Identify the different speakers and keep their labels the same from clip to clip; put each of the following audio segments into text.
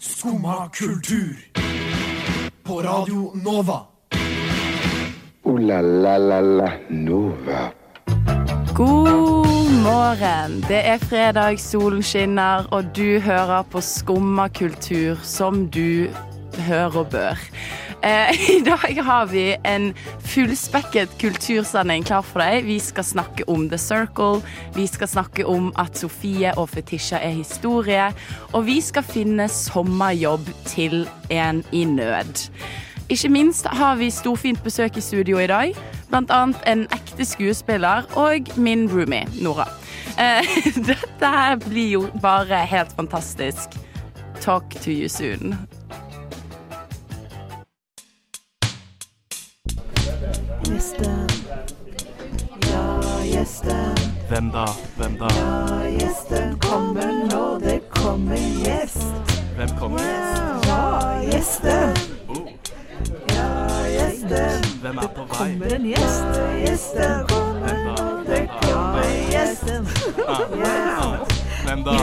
Speaker 1: Skumma kultur. På Radio Nova.
Speaker 2: Ooh la la la la Nova.
Speaker 3: God morgen. Det er fredag, solen skinner, og du hører på Skumma kultur som du hører og bør. Eh, I dag har vi en fullspekket kultursending klar for deg. Vi skal snakke om The Circle, vi skal snakke om at Sofie og Fetisha er historie, og vi skal finne sommerjobb til en i nød. Ikke minst har vi storfint besøk i studio i dag. Blant annet en ekte skuespiller og min roomie, Nora. Eh, Dette her blir jo bare helt fantastisk. Talk to you soon.
Speaker 4: Hvem da? Hvem da? gjesten kommer nå, det kommer gjest. Hvem kommer? Ja, gjesten. Hvem er på vei? Hvem da? Hvem da? Ah, ah. Hvem da?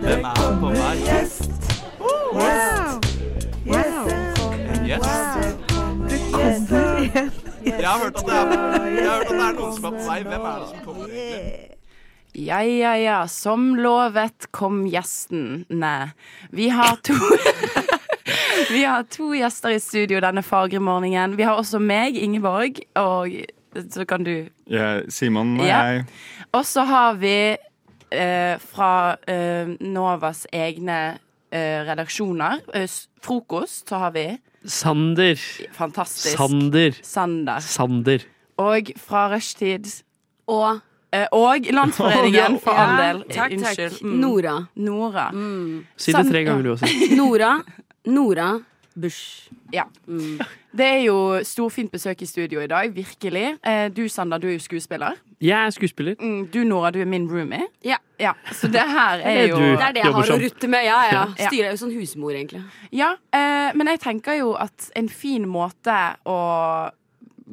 Speaker 4: Hvem er på vei? En gjest? Jeg har hørt at det er, jeg har hørt at det er noen som er på vei. Hvem er det som kommer? egentlig?
Speaker 3: Ja, ja, ja. Som lovet kom gjesten. Nei. Vi har to Vi har to gjester i studio denne fagre morgenen. Vi har også meg, Ingeborg, og så kan du
Speaker 5: Ja, Simon og
Speaker 3: Ja.
Speaker 5: jeg
Speaker 3: Og så har vi eh, fra eh, Novas egne eh, redaksjoner eh, s- Frokost, så har vi
Speaker 6: Sander.
Speaker 3: Fantastisk.
Speaker 6: Sander.
Speaker 3: Sander.
Speaker 6: Sander.
Speaker 3: Og fra Rushtid
Speaker 7: Og
Speaker 3: eh, Og Landsforeningen, for all
Speaker 7: Ja,
Speaker 3: del.
Speaker 7: Takk, takk. Mm.
Speaker 3: Unnskyld. Mm.
Speaker 7: Nora.
Speaker 3: Nora.
Speaker 6: Si det
Speaker 3: Sand-
Speaker 6: tre ganger, du også.
Speaker 7: Nora. Nora Bush.
Speaker 3: Ja.
Speaker 7: Mm.
Speaker 3: Det er jo storfint besøk i studio i dag, virkelig. Eh, Du, Sander, du er jo skuespiller.
Speaker 6: Jeg er skuespiller.
Speaker 3: Mm, Du, Nora, du er min roomie.
Speaker 7: Ja.
Speaker 3: Ja, så det her er
Speaker 6: Eller
Speaker 3: jo
Speaker 6: du.
Speaker 7: Det er det jeg
Speaker 6: Jobber
Speaker 7: har å
Speaker 6: som.
Speaker 7: rutte med. Ja, ja.
Speaker 3: Ja.
Speaker 7: Styrer er jo sånn husmor, egentlig.
Speaker 3: Ja, eh, men jeg tenker jo at en fin måte å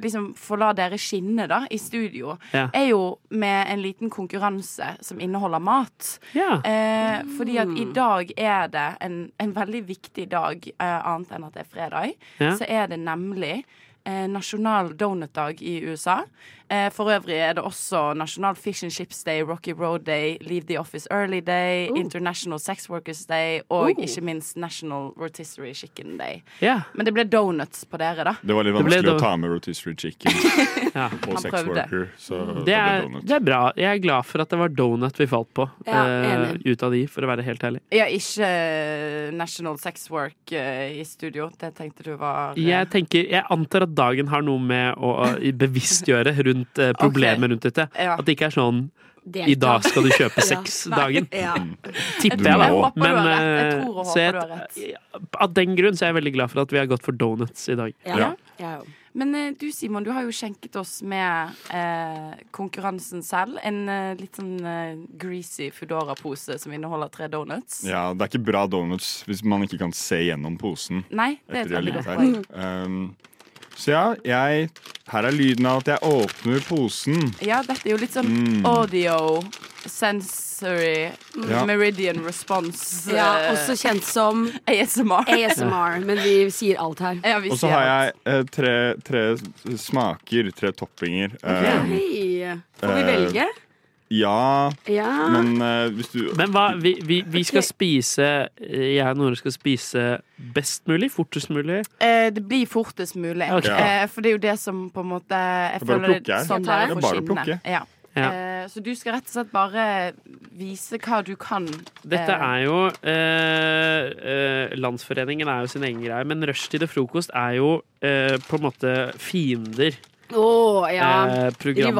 Speaker 3: liksom få la dere skinne da, i studio,
Speaker 6: Ja.
Speaker 3: er jo med en liten konkurranse som inneholder mat.
Speaker 6: Ja.
Speaker 3: Eh, fordi at i dag er det en, en veldig viktig dag, eh, annet enn at det er fredag.
Speaker 6: Ja.
Speaker 3: Så er det nemlig eh, nasjonal donutdag i USA. Eh, for øvrig er det også nasjonal fish and chips day, Rocky Road Day, Leave the Office Early Day, International Sex Workers Day og ikke minst National Rotisserie Chicken Day.
Speaker 6: ja.
Speaker 3: Men det ble donuts på dere, da.
Speaker 5: Det var litt
Speaker 6: Det ble
Speaker 5: vanskelig
Speaker 6: da-
Speaker 5: å ta med rotisserie chicken
Speaker 6: Ja.
Speaker 5: og
Speaker 3: Han
Speaker 5: sex
Speaker 3: prøvde. Mm.
Speaker 5: worker. Så
Speaker 6: Det
Speaker 5: ble
Speaker 6: er,
Speaker 5: donut.
Speaker 6: det er bra. Jeg er glad for at det var donut vi falt på
Speaker 7: Ja,
Speaker 6: eh,
Speaker 7: enig.
Speaker 6: ut av de, for å være helt ærlig.
Speaker 3: Ja, ikke eh, National Sex Work eh, i studio. Det tenkte du var eh,
Speaker 6: Jeg, tenker, jeg antar at dagen har noe med å å bevisstgjøre rundt eh, problemet rundt dette.
Speaker 3: Ja.
Speaker 6: At det ikke er sånn
Speaker 7: Delta.
Speaker 6: 'i dag skal du kjøpe Mm. sex'-dagen.
Speaker 7: Ja.
Speaker 6: Tipper
Speaker 5: tror-
Speaker 6: jeg,
Speaker 5: jeg
Speaker 6: da.
Speaker 3: håper du har rett. Jeg
Speaker 6: eh,
Speaker 3: tror og
Speaker 6: så
Speaker 3: håper
Speaker 6: jeg-
Speaker 3: du har rett.
Speaker 6: Av den grunn så er jeg veldig glad for at vi har gått for donuts i dag.
Speaker 7: Ja.
Speaker 5: Ja.
Speaker 7: Ja.
Speaker 3: Men eh, du Simon, du har jo skjenket oss med eh, konkurransen selv. En eh, litt sånn eh, greasy Foodora-pose som inneholder tre donuts.
Speaker 5: Ja, det er ikke bra donuts hvis man ikke kan se gjennom posen.
Speaker 3: Nei, det er et
Speaker 5: Etter de har
Speaker 3: veldig
Speaker 5: ligget
Speaker 3: godt
Speaker 5: her.
Speaker 3: poeng.
Speaker 5: Um, så ja, jeg Her er lyden av at jeg åpner posen.
Speaker 3: Ja, dette er jo litt sånn
Speaker 5: Mm.
Speaker 3: audio sensory
Speaker 5: Ja.
Speaker 3: meridian response
Speaker 7: ja.
Speaker 3: eh,
Speaker 7: Også kjent som
Speaker 3: ASMR.
Speaker 7: ASMR, men vi sier alt her.
Speaker 3: Ja, vi
Speaker 5: Og så
Speaker 3: sier
Speaker 5: har
Speaker 3: alt.
Speaker 5: jeg eh, tre, tre smaker, tre toppinger. Um,
Speaker 7: Hei. Får vi
Speaker 5: Eh,
Speaker 7: velge?
Speaker 5: ja,
Speaker 7: Ja.
Speaker 5: men eh, hvis du
Speaker 6: Men hva, vi, vi, vi skal spise Jeg og Nore skal spise best mulig, fortest mulig.
Speaker 3: Eh, det blir fortest mulig.
Speaker 6: Ok.
Speaker 3: Eh, for det er jo det som på en måte Jeg
Speaker 5: er bare å
Speaker 3: føler
Speaker 5: plukke
Speaker 3: det
Speaker 5: her.
Speaker 3: sånn
Speaker 7: Ja,
Speaker 3: der
Speaker 5: det er
Speaker 3: får
Speaker 5: bare å
Speaker 3: skinne.
Speaker 5: plukke.
Speaker 3: Ja.
Speaker 6: Ja.
Speaker 3: Eh, så du skal rett og slett bare vise hva du kan.
Speaker 6: Dette
Speaker 3: eh,
Speaker 6: er jo eh, eh, Landsforeningen er jo sin egen greie, men rushtid og frokost er jo eh, på en måte fiender.
Speaker 7: Å, ja.
Speaker 6: eh, programmet.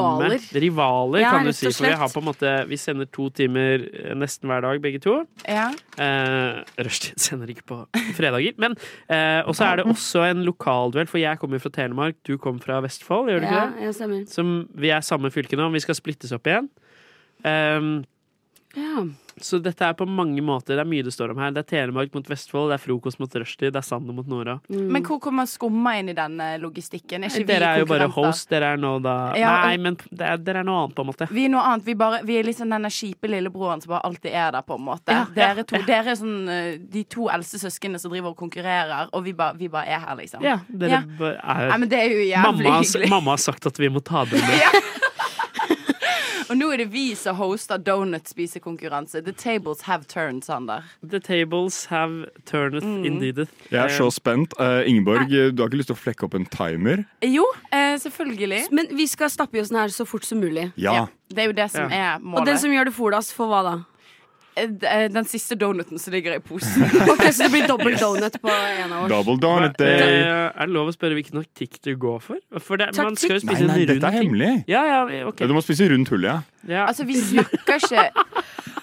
Speaker 7: rivaler.
Speaker 6: Rivaler,
Speaker 7: Ja,
Speaker 6: kan du
Speaker 7: rett
Speaker 6: si.
Speaker 7: og
Speaker 6: For vi
Speaker 7: slett.
Speaker 6: har på en måte Vi sender to timer eh, nesten hver dag, begge to.
Speaker 3: ja.
Speaker 6: Eh, Rushtid sender ikke på fredager. Men eh, Og så er det også en lokalduell, for jeg kommer fra Telemark, du kommer fra Vestfold, gjør du ikke
Speaker 7: ja,
Speaker 6: det?
Speaker 7: ja, stemmer.
Speaker 6: som vi er samme fylke nå, vi skal splittes opp igjen. Ehm,
Speaker 7: Ja.
Speaker 6: Så dette er på mange måter. Det er mye det står om her. Det er Telemark mot Vestfold, det er frokost mot Rushdie, det er Sander mot Nora.
Speaker 3: Men hvor kommer skumma inn i denne logistikken? Er ikke vi
Speaker 6: Dere er jo bare
Speaker 3: konkurrenter?
Speaker 6: host. Dere er nå da
Speaker 3: Ja,
Speaker 6: Nei,
Speaker 3: og-
Speaker 6: men det er, dere er noe annet, på en måte.
Speaker 3: Vi er noe annet. Vi, bare, vi er litt sånn denne kjipe lillebroren som bare alltid er der, på en måte.
Speaker 6: Ja, ja,
Speaker 3: dere, to, dere er sånn eh, de to eldste søsknene som driver og konkurrerer, og vi bare, vi bare er her, liksom.
Speaker 6: Ja, dere
Speaker 3: Ja.
Speaker 6: bare
Speaker 3: Nei,
Speaker 6: er
Speaker 3: men det er jo jævlig
Speaker 6: mamma, har-
Speaker 3: hyggelig.
Speaker 6: mamma har sagt at vi må ta dere med.
Speaker 3: Og nå er det vi som hoster donut-spisekonkurranse. The tables have turned, Sander.
Speaker 6: The tables have turned
Speaker 3: Mm.
Speaker 6: indeed.
Speaker 5: Jeg er så spent. Eh, Ingeborg, eh, du har ikke lyst til å flekke opp en timer?
Speaker 3: Jo, eh, selvfølgelig.
Speaker 7: Men vi skal stappe i oss den her så fort som mulig.
Speaker 5: Ja.
Speaker 3: Det er jo det som er
Speaker 7: Og den
Speaker 3: målet.
Speaker 7: som gjør det fordas, får hva da?
Speaker 3: Eh, d- eh, Den siste donuten som ligger i posen.
Speaker 7: Ok, Så det blir dobbel donut på en av oss.
Speaker 5: Double donut
Speaker 6: Eh,
Speaker 5: day.
Speaker 6: er det lov å spørre hvilken taktikk du går for? For det, man skal jo
Speaker 7: Taktikk?
Speaker 5: Nei,
Speaker 6: spise en
Speaker 5: nei,
Speaker 6: rund
Speaker 5: dette er
Speaker 6: ting.
Speaker 5: hemmelig.
Speaker 6: Ja, ja, ok.
Speaker 5: Ja, du må spise rundt hullet, ja.
Speaker 6: Ja.
Speaker 3: Altså, vi snakker ikke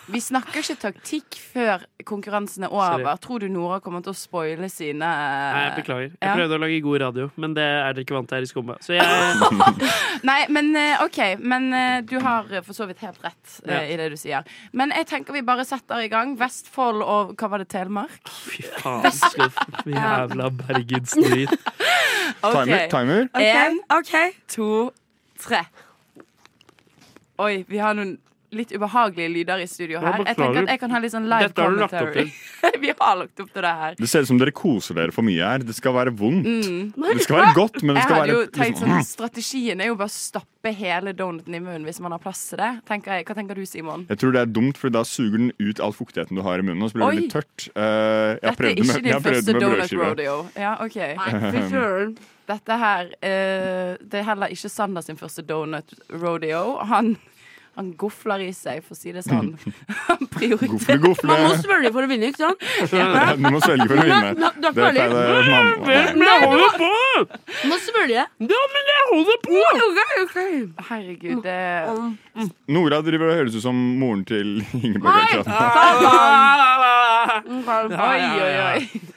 Speaker 3: Vi snakker ikke taktikk før konkurransen er over.
Speaker 6: Sorry.
Speaker 3: Tror du Nora kommer til å spoile sine
Speaker 6: Nei, jeg beklager. Jeg
Speaker 3: ja.
Speaker 6: prøvde å lage god radio, men det er dere ikke vant til her i Skumba. Så jeg,
Speaker 3: Nei, men eh, OK. Men eh, du har eh, for så vidt helt rett eh,
Speaker 6: Ja.
Speaker 3: i det du sier. Men jeg tenker vi bare setter i gang. Vestfold og hva var det, Telemark?
Speaker 6: fy faen, slutt. Jævla Bergensdrit.
Speaker 5: Timer. timer.
Speaker 7: Ok,
Speaker 3: En,
Speaker 7: ok
Speaker 3: to, tre. Oi, vi har noen litt ubehagelige lyder i studio
Speaker 6: Ja,
Speaker 3: her. Jeg
Speaker 6: beklager.
Speaker 3: tenker at jeg kan ha litt sånn live
Speaker 6: Dette har du lagt opp
Speaker 3: commentary. vi har lagt opp til det her.
Speaker 5: Det ser ut som dere koser dere for mye her. Det skal være vondt. Det skal være godt, men det
Speaker 3: Mm. Jeg
Speaker 5: skal
Speaker 3: hadde
Speaker 5: være
Speaker 3: jo tenkt
Speaker 5: liksom,
Speaker 3: sånn, Strategien er jo bare å stappe hele donuten i munnen hvis man har plass til det. Tenker jeg. Hva tenker du, Simon?
Speaker 5: Jeg tror det er dumt, for da suger den ut all fuktigheten du har i munnen. Og så blir
Speaker 3: Oi.
Speaker 5: det litt tørt. Eh, jeg har
Speaker 3: Dette er
Speaker 5: prøvd
Speaker 3: ikke
Speaker 5: med, jeg
Speaker 3: din
Speaker 5: har prøvd
Speaker 3: første
Speaker 5: med
Speaker 3: donut
Speaker 5: brødskive.
Speaker 3: rodeo. Ja, ok Dette her eh, Det er heller ikke Sander sin første donut rodeo. Han, han gofler i seg, for å si det sånn. Han
Speaker 5: Gofle,
Speaker 3: prioriterer
Speaker 5: gofle.
Speaker 7: Man må svølge for å vinne, ikke sant?
Speaker 5: Ja, Du må svelge for å vinne.
Speaker 7: Nei, du
Speaker 5: Det
Speaker 7: er ferdig.
Speaker 5: pleide mamma. Nei.
Speaker 6: Men jeg holder på!
Speaker 7: Du må svølge.
Speaker 6: Ja, men jeg holder på!
Speaker 3: Herregud, det
Speaker 5: Nora driver og høres ut som moren til Ingeborg. akkurat nå.
Speaker 3: Oi, oi, oi.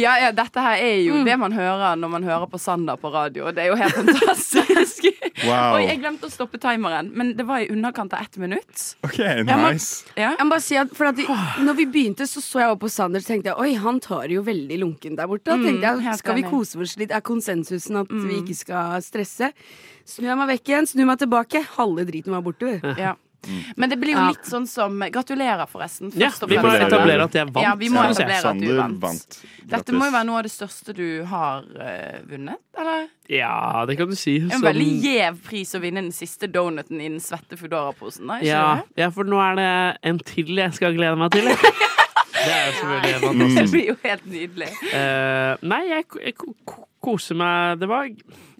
Speaker 3: Ja, ja, dette her er
Speaker 6: Mm.
Speaker 3: jo det man hører når man hører på Sander på radio. og Det er jo helt fantastisk. Oi, jeg
Speaker 5: Wow.
Speaker 3: glemte å stoppe timeren, men det var i underkant av ett minutt.
Speaker 5: Ok, nice.
Speaker 3: Ja.
Speaker 7: Jeg må bare si at, for at de, når vi begynte, så så jeg opp på Sander og tenkte jeg, oi, han tar jo veldig lunken der borte. Da tenkte
Speaker 3: helt
Speaker 7: jeg, Skal vi
Speaker 3: enig.
Speaker 7: kose oss litt? Er konsensusen at vi ikke skal stresse? Snur jeg meg vekk igjen, snur meg tilbake. Halve driten var borte. vet du.
Speaker 3: Ja. Men det blir jo
Speaker 7: Ja.
Speaker 3: litt sånn som Gratulerer, forresten.
Speaker 6: Mm. Ja,
Speaker 3: først og
Speaker 6: vi må
Speaker 3: fremst.
Speaker 6: etablere at jeg vant.
Speaker 3: Ja, vi må
Speaker 6: Ja.
Speaker 3: etablere at du
Speaker 5: Sander
Speaker 3: vant.
Speaker 5: vant.
Speaker 3: Dette må jo
Speaker 5: Grattis.
Speaker 3: være noe av det største du har eh, vunnet, eller?
Speaker 6: Ja, det kan du si.
Speaker 3: En
Speaker 6: Som-
Speaker 3: veldig gjev pris å vinne den siste donuten i den svette Foodora-posen. da, ikke
Speaker 6: ja,
Speaker 3: det?
Speaker 6: ja, for nå er det en til jeg skal glede meg til. Det er jo selvfølgelig
Speaker 3: Det
Speaker 6: fantastisk.
Speaker 3: blir jo helt nydelig.
Speaker 6: Eh, nei, jeg, ko- jeg ko- ko- koser meg Det var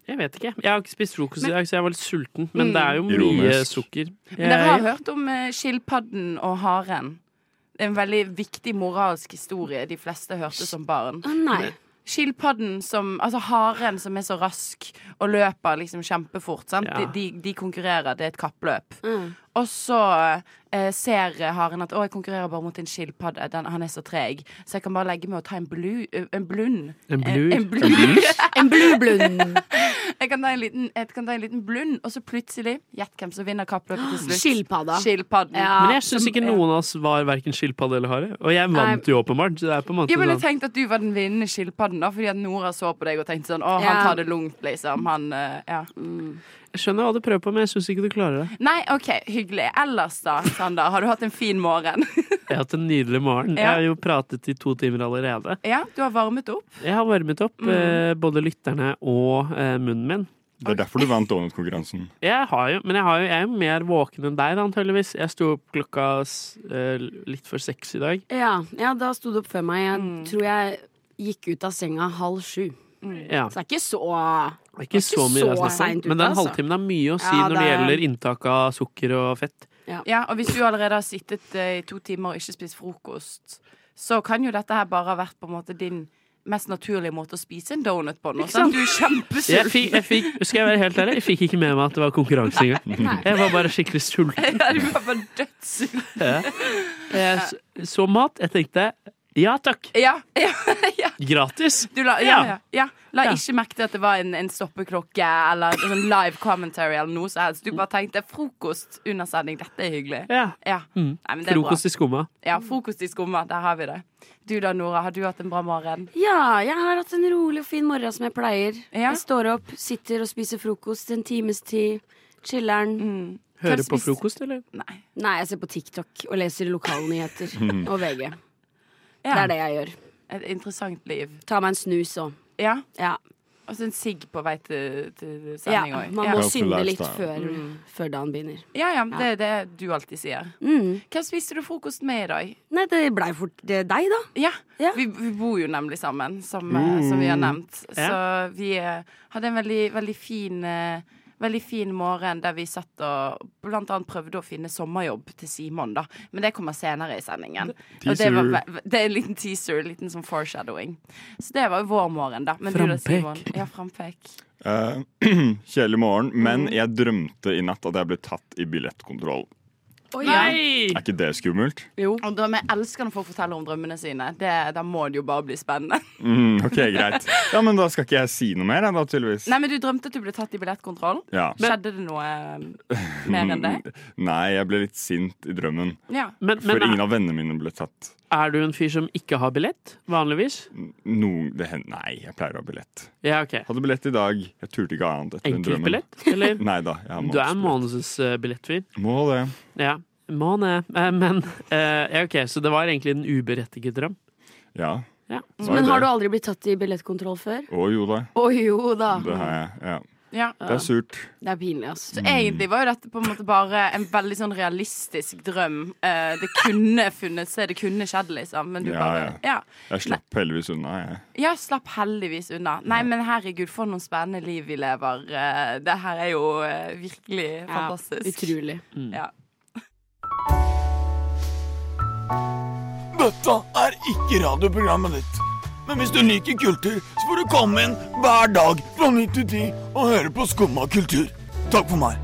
Speaker 6: Jeg vet ikke. Jeg har ikke spist frokost i dag, så jeg var litt sulten. Men det er jo mye
Speaker 5: Ironisk.
Speaker 6: sukker.
Speaker 3: Men dere har
Speaker 6: Jeg-
Speaker 3: hørt om eh, skilpadden og haren. Det er en veldig viktig moralsk historie de fleste hørte som barn.
Speaker 7: Å, Nei.
Speaker 3: Skilpadden som Altså haren som er så rask og løper liksom kjempefort, sant.
Speaker 6: Ja.
Speaker 3: De, de, de konkurrerer. Det er et kappløp.
Speaker 7: Mm.
Speaker 3: Og så eh, ser haren at 'Å, jeg konkurrerer bare mot en skilpadde. Den, han er så treg.' Så jeg kan bare legge meg og ta en, blu, eh, en blund. Eh,
Speaker 6: En
Speaker 3: En,
Speaker 6: blur.
Speaker 3: en blund.
Speaker 7: En blublund.
Speaker 3: Jeg kan ta en liten, jeg kan ta en liten blund, og så plutselig Gjett hvem som vinner kappløpet til slutt.
Speaker 7: Skilpadda.
Speaker 3: Skilpadden.
Speaker 7: Ja.
Speaker 6: Men jeg syns ikke noen av oss var verken skilpadde eller hare. Og jeg vant jo åpenbart. Så det er på en måte
Speaker 3: Ja, men jeg
Speaker 6: sånn.
Speaker 3: tenkte at du var den vinnende skilpadden, da, fordi at Nora så på deg og tenkte sånn Å, han
Speaker 7: Ja.
Speaker 3: tar det lugnt, liksom. Han eh, Ja.
Speaker 6: Jeg skjønner hva du prøver på, men jeg syns ikke du klarer det.
Speaker 3: Nei, OK, hyggelig. Ellers da, Sander, har du hatt en fin morgen?
Speaker 6: Jeg har hatt en nydelig morgen. Jeg
Speaker 3: Ja.
Speaker 6: har jo pratet i to timer allerede.
Speaker 3: ja, du har varmet opp.
Speaker 6: Jeg har varmet opp
Speaker 3: Mm.
Speaker 6: eh, både lytterne og eh, munnen min.
Speaker 5: Mm, Det er derfor du vant donutkonkurransen.
Speaker 6: Jeg har jo, men jeg, har jo, jeg er jo mer våken enn deg, da, antageligvis. Jeg sto opp klokka s- eh, litt før seks i dag.
Speaker 7: Ja, ja, da sto det opp før meg. Jeg tror jeg gikk ut av senga halv sju.
Speaker 6: Ja.
Speaker 7: Så det er ikke så
Speaker 6: Det er ikke så mye det er
Speaker 7: så
Speaker 6: snakk om,
Speaker 7: seint ute,
Speaker 6: Men den
Speaker 7: altså.
Speaker 6: halvtimen har mye å si
Speaker 7: Ja,
Speaker 6: når det
Speaker 7: det er-
Speaker 6: gjelder inntak av sukker og fett.
Speaker 3: Ja, og hvis du allerede har sittet eh, i to timer og ikke spist frokost, så kan jo dette her bare ha vært på en måte din mest naturlige måte å spise en donut på nå. Sant? Du er
Speaker 6: Jeg
Speaker 3: kjempesulten.
Speaker 6: fikk, jeg fikk, skal jeg være helt ærlig, jeg fikk ikke med meg at det var konkurranse engang. Jeg var bare skikkelig sulten.
Speaker 3: Ja, du var bare dødssulten.
Speaker 6: Jeg s- så mat, jeg tenkte Ja takk.
Speaker 3: Ja, ja, ja.
Speaker 6: Gratis.
Speaker 3: Du la, ja,
Speaker 6: Ja.
Speaker 3: ja, ja. la
Speaker 6: Ja.
Speaker 3: ikke merke til at det var en, en stoppeklokke eller en sånn live commentary eller noe som helst. Du bare tenkte frokost under sending, dette er hyggelig.
Speaker 6: Ja.
Speaker 3: Ja.
Speaker 6: Mm.
Speaker 3: Nei, men det er bra.
Speaker 6: Frokost i skumma.
Speaker 3: Ja, frokost i skumma, der har vi det. Du da, Nora, har du hatt en bra morgen?
Speaker 7: Ja, jeg har hatt en rolig og fin morgen som jeg pleier.
Speaker 3: Ja.
Speaker 7: Jeg står opp, sitter og spiser frokost en times tid. Chiller'n.
Speaker 3: Mm.
Speaker 6: Hører på
Speaker 3: spiste-
Speaker 6: frokost, eller?
Speaker 3: Nei.
Speaker 7: Nei, jeg ser på TikTok og leser lokalnyheter.
Speaker 6: Mm.
Speaker 7: og VG. Det
Speaker 3: Ja,
Speaker 7: er det jeg gjør.
Speaker 3: Et interessant liv.
Speaker 7: Ta meg en snus òg.
Speaker 3: Ja,
Speaker 7: Ja.
Speaker 3: og så en sigg på vei til, til
Speaker 7: ja.
Speaker 3: sending òg.
Speaker 7: Man
Speaker 3: Ja. Mm.
Speaker 7: må
Speaker 5: Healthy
Speaker 7: synde litt
Speaker 5: lifestyle.
Speaker 7: før, før dagen begynner.
Speaker 3: ja, ja, men det er det du alltid sier.
Speaker 7: Mm.
Speaker 3: Hvem spiste du frokost med i dag?
Speaker 7: Nei, det blei fort det er deg, da.
Speaker 3: Ja,
Speaker 7: Ja.
Speaker 3: Vi, vi bor jo nemlig sammen, som, eh, som vi har nevnt.
Speaker 6: Mm. Ja.
Speaker 3: Så vi eh, hadde en veldig, veldig fin eh, Veldig fin morgen der vi satt og blant annet prøvde å finne sommerjobb til Simon, da. Men det kommer senere i sendingen. Og det, var,
Speaker 5: Teaser.
Speaker 3: ve- det er en liten teaser, en liten sånn foreshadowing. Så det var jo vår morgen, da. Men du da,
Speaker 6: Frampek.
Speaker 3: Simon? Ja, frampek.
Speaker 5: Eh, Kjedelig morgen, men jeg drømte i natt at jeg ble tatt i billettkontroll.
Speaker 6: Nei!
Speaker 5: Er ikke det skummelt?
Speaker 3: Og da med elskerne for å fortelle om drømmene sine. Det, da må det jo bare bli spennende.
Speaker 5: Mm, ok, greit. Ja, Men da skal ikke jeg si noe mer, jeg, da, tydeligvis.
Speaker 3: Nei, men du drømte at du ble tatt i billettkontroll.
Speaker 5: Ja. Mm,
Speaker 3: Skjedde det noe eh, mer enn det?
Speaker 5: Nei, jeg ble litt sint i drømmen.
Speaker 3: Ja.
Speaker 6: Men,
Speaker 5: For
Speaker 6: men
Speaker 5: ingen av vennene mine ble tatt.
Speaker 6: er du en fyr som ikke har billett, vanligvis?
Speaker 5: Noen, det hen- nei, jeg pleier å ha billett.
Speaker 6: Ja, ok.
Speaker 5: Hadde billett i dag. Jeg turte ikke annet etter den drømmen.
Speaker 6: Enkeltbillett, eller?
Speaker 5: Nei da. Jeg har
Speaker 6: Du er eh,
Speaker 5: månedsbillett.
Speaker 6: månedsbillettfyr.
Speaker 5: Må det.
Speaker 6: Ja. Måne. Eh, Men eh, ja, OK, så det var egentlig en uberettiget drøm.
Speaker 5: Ja.
Speaker 6: Ja.
Speaker 5: det var
Speaker 7: Men
Speaker 5: det.
Speaker 7: har du aldri blitt tatt i billettkontroll før?
Speaker 5: Å jo da.
Speaker 7: Å jo da.
Speaker 5: Det har jeg. Ja.
Speaker 3: ja.
Speaker 5: Det er surt.
Speaker 7: Det er pinlig, ass.
Speaker 3: Så egentlig var jo dette på en måte bare en veldig sånn realistisk drøm. Eh, det kunne funnet seg, det kunne skjedd, liksom. Men du
Speaker 5: Ja,
Speaker 3: bare ja.
Speaker 5: Jeg slapp heldigvis unna, jeg.
Speaker 3: ja, slapp heldigvis unna. Nei, men herregud, for noen spennende liv vi lever. Eh, det her er jo eh, virkelig
Speaker 7: Ja,
Speaker 3: fantastisk.
Speaker 7: utrolig.
Speaker 3: Ja.
Speaker 1: Dette er ikke radioprogrammet ditt. Men hvis du liker kultur, så får du komme inn hver dag fra 9 til 10 og høre på Skumma kultur. Takk for meg.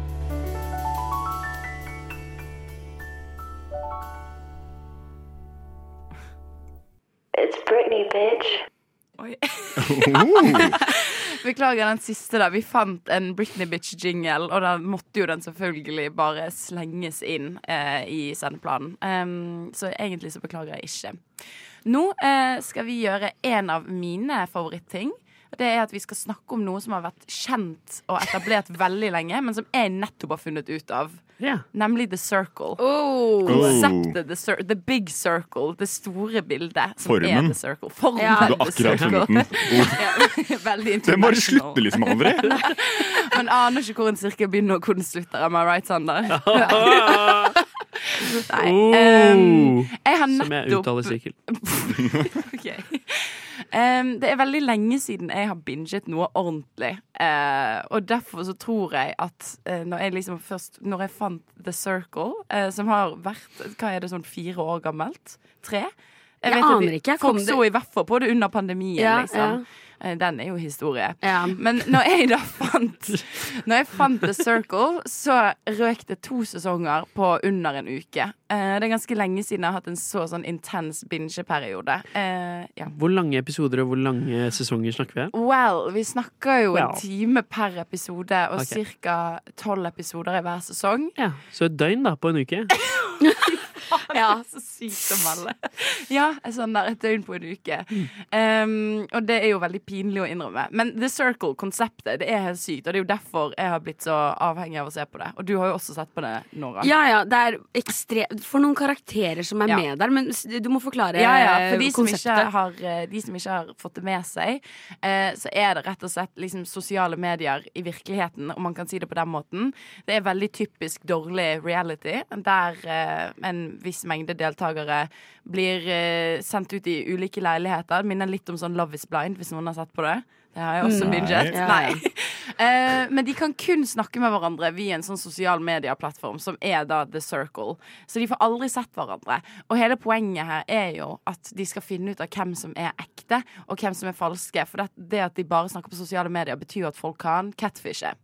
Speaker 8: It's Britney, bitch.
Speaker 3: Oi.
Speaker 5: Oh,
Speaker 3: Beklager den siste, da. Vi fant en Britney Bitch-jingle, og da måtte jo den selvfølgelig bare slenges inn eh, i sendeplanen. Em, så egentlig så beklager jeg ikke. Nå eh, skal vi gjøre en av mine favorittting. og Det er at vi skal snakke om noe som har vært kjent og etablert veldig lenge, men som jeg nettopp har funnet ut av.
Speaker 6: Ja.
Speaker 3: Nemlig The Circle.
Speaker 7: Oh.
Speaker 3: Konseptet the, cir the Big Circle. Det store bildet. Som
Speaker 5: Formen.
Speaker 3: Er the circle. Formen.
Speaker 7: Ja.
Speaker 5: du
Speaker 3: The
Speaker 5: har akkurat
Speaker 3: Circle.
Speaker 5: funnet den. Oh,
Speaker 3: Veldig
Speaker 5: den bare
Speaker 3: international.
Speaker 5: slutter liksom aldri.
Speaker 3: Man aner ikke hvor en sirkel begynner og hvor den slutter. Am I right, Sander? Nei. ehm, jeg har
Speaker 6: Som jeg
Speaker 3: nettopp
Speaker 6: uttaler sirkel.
Speaker 3: Ok. Ehm, Det er veldig lenge siden jeg har binget noe ordentlig. Eh, og derfor så tror jeg at eh, når jeg liksom først Når jeg fant The Circle, eh, som har vært Hva er det, sånn fire år gammelt? Tre?
Speaker 7: Jeg
Speaker 3: vet at
Speaker 7: aner
Speaker 3: vi-
Speaker 7: ikke. Jeg
Speaker 3: Folk
Speaker 7: kom det-
Speaker 3: så i hvert fall på det under pandemien,
Speaker 7: Ja,
Speaker 3: liksom. Eh, Den er jo historie.
Speaker 7: Ja.
Speaker 3: Men når jeg da fant Når jeg fant The Circle, så røk det to sesonger på under en uke. Eh, det er ganske lenge siden jeg har hatt en så sånn intens bingeperiode. Eh, ja.
Speaker 6: Hvor lange episoder og hvor lange sesonger snakker vi? om?
Speaker 3: Well, vi snakker jo
Speaker 6: Well.
Speaker 3: en time per episode, og
Speaker 6: Ok.
Speaker 3: ca. tolv episoder i hver sesong.
Speaker 6: Ja. Så et døgn, da, på en uke.
Speaker 3: Ja, så sykt å melde. Mm. Ja, sånn der et døgn på en uke. Um, og det er jo veldig pinlig å innrømme. Men The Circle-konseptet, det er helt sykt. Og det er jo derfor jeg har blitt så avhengig av å se på det. Og du har jo også sett på det, Nora.
Speaker 7: Ja, ja, det er ekstremt For noen karakterer som er
Speaker 3: Ja.
Speaker 7: med der, men s- du må forklare
Speaker 3: Ja, ja, for de
Speaker 7: eh,
Speaker 3: som, ikke
Speaker 7: konseptet.
Speaker 3: har, eh, de som ikke har fått det med seg, eh, så er det rett og slett liksom sosiale medier i virkeligheten, om man kan si det på den måten. Det er veldig typisk dårlig reality, der eh, en viss mengde deltakere blir eh, sendt ut i ulike leiligheter. Det minner litt om sånn Love is blind, hvis noen har sett på det. Det har jeg også
Speaker 5: Nei.
Speaker 3: binget.
Speaker 7: Ja.
Speaker 3: Nei. Eh, men de kan kun snakke med hverandre via en sånn sosial medieplattform som er da The Circle. Så de får aldri sett hverandre. Og hele poenget her er jo at de skal finne ut av hvem som er ekte, og hvem som er falske. For det, det at de
Speaker 7: Mm.
Speaker 3: bare snakker på sosiale medier, betyr jo at folk kan catfishe.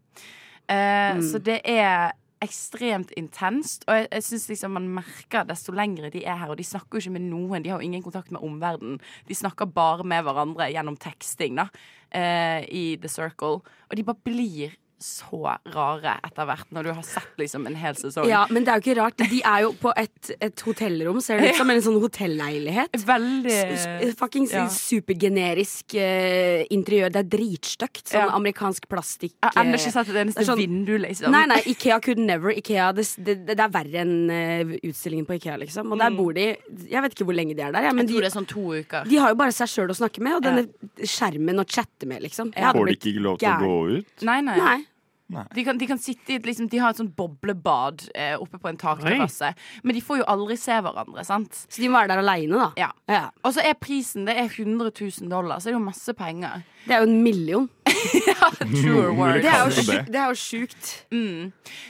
Speaker 3: Eh, Så det er ekstremt intenst. Og jeg, jeg synes liksom man merker desto lengre de er her, og de snakker jo ikke med noen. De har jo ingen kontakt med omverdenen. De snakker bare med hverandre gjennom teksting da, eh, i The Circle. Og de bare blir så rare etter hvert, når du har sett liksom en hel sesong.
Speaker 7: Ja, men det er jo ikke rart. De er jo på et, et hotellrom, ser det ut som. En sånn hotelleilighet.
Speaker 3: Veldig
Speaker 7: S- eh, s- Fuckings
Speaker 3: ja.
Speaker 7: supergenerisk eh, interiør. Det er dritstygt. Sånn
Speaker 3: Ja.
Speaker 7: amerikansk plastikk.
Speaker 3: Jeg har ennå
Speaker 7: eh,
Speaker 3: ikke sett et eneste
Speaker 7: det er sånn-
Speaker 3: vindu, liksom.
Speaker 7: Nei, nei, Ikea could never. Ikea, det, det, det er verre enn eh, utstillingen på Ikea, liksom. Og der bor de Jeg vet ikke hvor lenge de er der, ja,
Speaker 3: Mm. Jeg
Speaker 7: men de,
Speaker 3: tror det er sånn to uker.
Speaker 7: de har jo bare seg sjøl å snakke med, og denne skjermen å chatte med, liksom. Jeg hadde
Speaker 5: Får de
Speaker 7: blitt
Speaker 5: ikke lov til å
Speaker 7: gæren.
Speaker 5: gå ut?
Speaker 3: Nei, nei.
Speaker 7: Nei.
Speaker 3: De kan, de kan sitte i et liksom, De har et sånt boblebad eh, oppe på en takterrasse. Men de får jo aldri se hverandre, sant?
Speaker 7: Så de må være der aleine, da.
Speaker 3: Ja. Og så er prisen det er 100 000 dollar, så det er jo masse penger.
Speaker 7: Det er jo en million.
Speaker 3: True word.
Speaker 7: Mm, Det er jo,
Speaker 5: Kan jo
Speaker 7: sju,
Speaker 5: det.
Speaker 7: det er jo sjukt.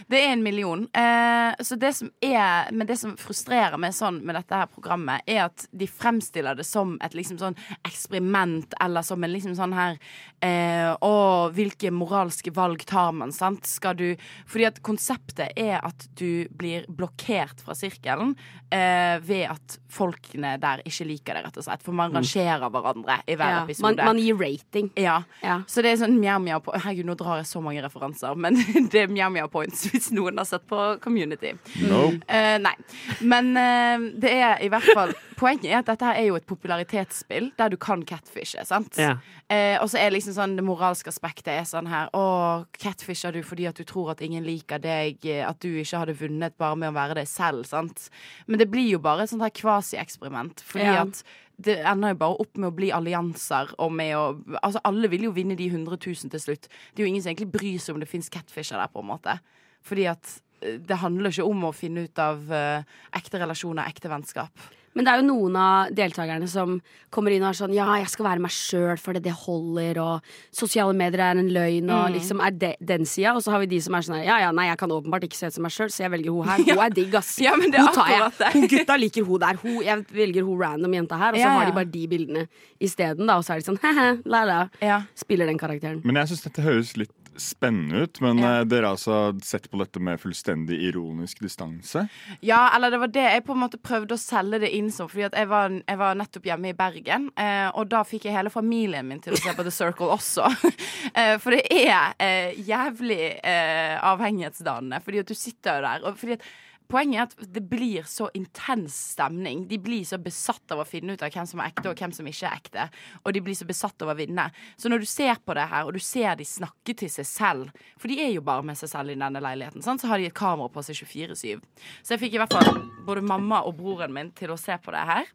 Speaker 3: Det er en million. Eh, så det som er Men det som frustrerer meg sånn med dette her programmet, er at de fremstiller det som et liksom sånn eksperiment, eller som en liksom sånn her eh, Å, hvilke moralske valg tar man, sant? Skal du Fordi at konseptet er at du blir blokkert fra sirkelen eh, ved at folkene der ikke liker det, rett og slett. For
Speaker 7: Mm.
Speaker 3: man rangerer hverandre i hver
Speaker 7: Ja.
Speaker 3: episode.
Speaker 7: Man, man gir rating.
Speaker 3: Ja.
Speaker 7: Ja.
Speaker 3: Så det er sånn mjau-mjau på Herregud, nå drar jeg så mange referanser, men det er mjau-mjau points hvis noen har sett på Community.
Speaker 5: No.
Speaker 3: Eh, nei. Men eh, det er i hvert fall Poenget er at dette her er jo et popularitetsspill der du kan catfishe, sant?
Speaker 6: Ja.
Speaker 3: Eh, og så er liksom sånn det moralske aspektet er sånn her Å, catfisher du fordi at du tror at ingen liker deg, eh, at du ikke hadde vunnet bare med å være deg selv, sant? Men det blir jo bare et sånt her kvasieksperiment, fordi
Speaker 7: Ja.
Speaker 3: at det ender jo bare opp med å bli allianser og med å Altså, alle vil jo vinne de 100 000 til slutt. Det er jo ingen som egentlig bryr seg om det fins catfisher der, på en måte. Fordi at eh, det handler ikke om å finne ut av eh, ekte relasjoner, ekte vennskap.
Speaker 7: Men det er jo noen av deltakerne som kommer inn og er sånn Ja, jeg skal være meg sjøl fordi det holder, og sosiale medier er en løgn, og
Speaker 3: Mm.
Speaker 7: liksom er det, den sida. Og så har vi de som er sånn her Ja ja, nei, jeg kan åpenbart ikke se ut som meg sjøl, så jeg velger hun her. Hun er digg, ass.
Speaker 3: Ja, men det er
Speaker 7: hun tar
Speaker 3: akkurat det.
Speaker 7: jeg. Hun gutta liker hun der. Hun, jeg velger hun random jenta her, og så
Speaker 3: Ja,
Speaker 7: har
Speaker 3: ja.
Speaker 7: de bare de bildene isteden, da. Og så er de sånn he-he, la-la.
Speaker 3: Ja.
Speaker 7: Spiller den karakteren.
Speaker 5: Men jeg syns dette høres litt spennende ut. Men
Speaker 3: Ja.
Speaker 5: eh, dere har altså sett på dette med fullstendig ironisk distanse?
Speaker 3: Ja, eller det var det jeg på en måte prøvde å selge det inn som. Fordi at jeg var, jeg var nettopp hjemme i Bergen, eh, og da fikk jeg hele familien min til å se på The Circle også. eh, for det er eh, jævlig eh, avhengighetsdannende, fordi at du sitter jo der. Og fordi at Poenget er at det blir så intens stemning. De blir så besatt av å finne ut av hvem som er ekte og hvem som ikke er ekte. Og de blir så besatt av å vinne. Så når du ser på det her, og du ser de snakke til seg selv For de er jo bare med seg selv i denne leiligheten. Sant? Så har de et kamera på seg 24-7. Så jeg fikk i hvert fall både mamma og broren min til å se på det her.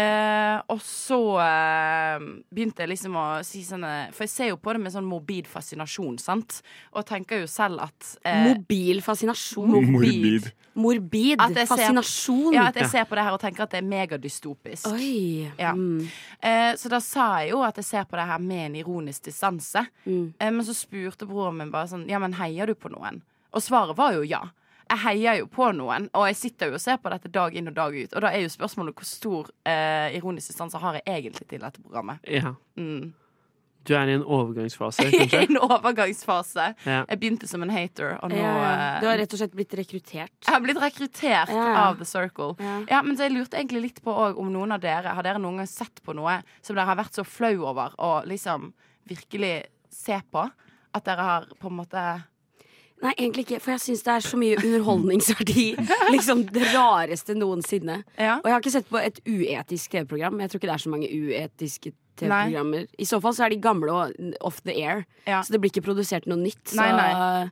Speaker 3: Eh, og så eh, begynte jeg liksom å si sånn eh, For jeg ser jo på det med sånn morbid fascinasjon, sant? Og tenker jo selv at eh,
Speaker 7: Mobil fascinasjon.
Speaker 3: Morbid.
Speaker 5: Morbid.
Speaker 7: Morbid
Speaker 3: At jeg ser-
Speaker 7: fascinasjon.
Speaker 3: ja, at jeg ser på det her og tenker at det er megadystopisk.
Speaker 7: Oi. Mm.
Speaker 3: Ja. Eh, så da sa jeg jo at jeg ser på det her med en ironisk distanse. Eh, men så spurte broren min bare sånn Ja, men heier du på noen? Og svaret var jo ja. Jeg heier jo på noen, og jeg sitter jo og ser på dette dag inn og dag ut. Og da er jo spørsmålet hvor stor eh, ironisk distanse har jeg egentlig til dette programmet.
Speaker 6: Ja.
Speaker 3: Mm.
Speaker 6: Du er i en overgangsfase, kanskje?
Speaker 3: en overgangsfase.
Speaker 6: Ja.
Speaker 3: Jeg begynte som en hater, og nå
Speaker 7: Ja, ja.
Speaker 3: eh,
Speaker 7: Du har rett og slett blitt rekruttert.
Speaker 3: jeg har blitt rekruttert
Speaker 7: Ja.
Speaker 3: av The Circle. Ja.
Speaker 7: Ja.
Speaker 3: men så Jeg lurte egentlig litt på også om noen av dere Har dere noen gang sett på noe som dere har vært så flau over og liksom virkelig se på? At dere har på en måte
Speaker 7: Nei, egentlig ikke, for jeg syns det er så mye underholdningsverdi. liksom det rareste noensinne.
Speaker 3: Ja.
Speaker 7: Og jeg har ikke sett på et uetisk TV-program. Jeg tror ikke det er så mange uetiske TV-programmer. I så fall så er de gamle og off the air.
Speaker 3: Ja.
Speaker 7: Så det blir ikke produsert noe nytt. Så
Speaker 3: Nei,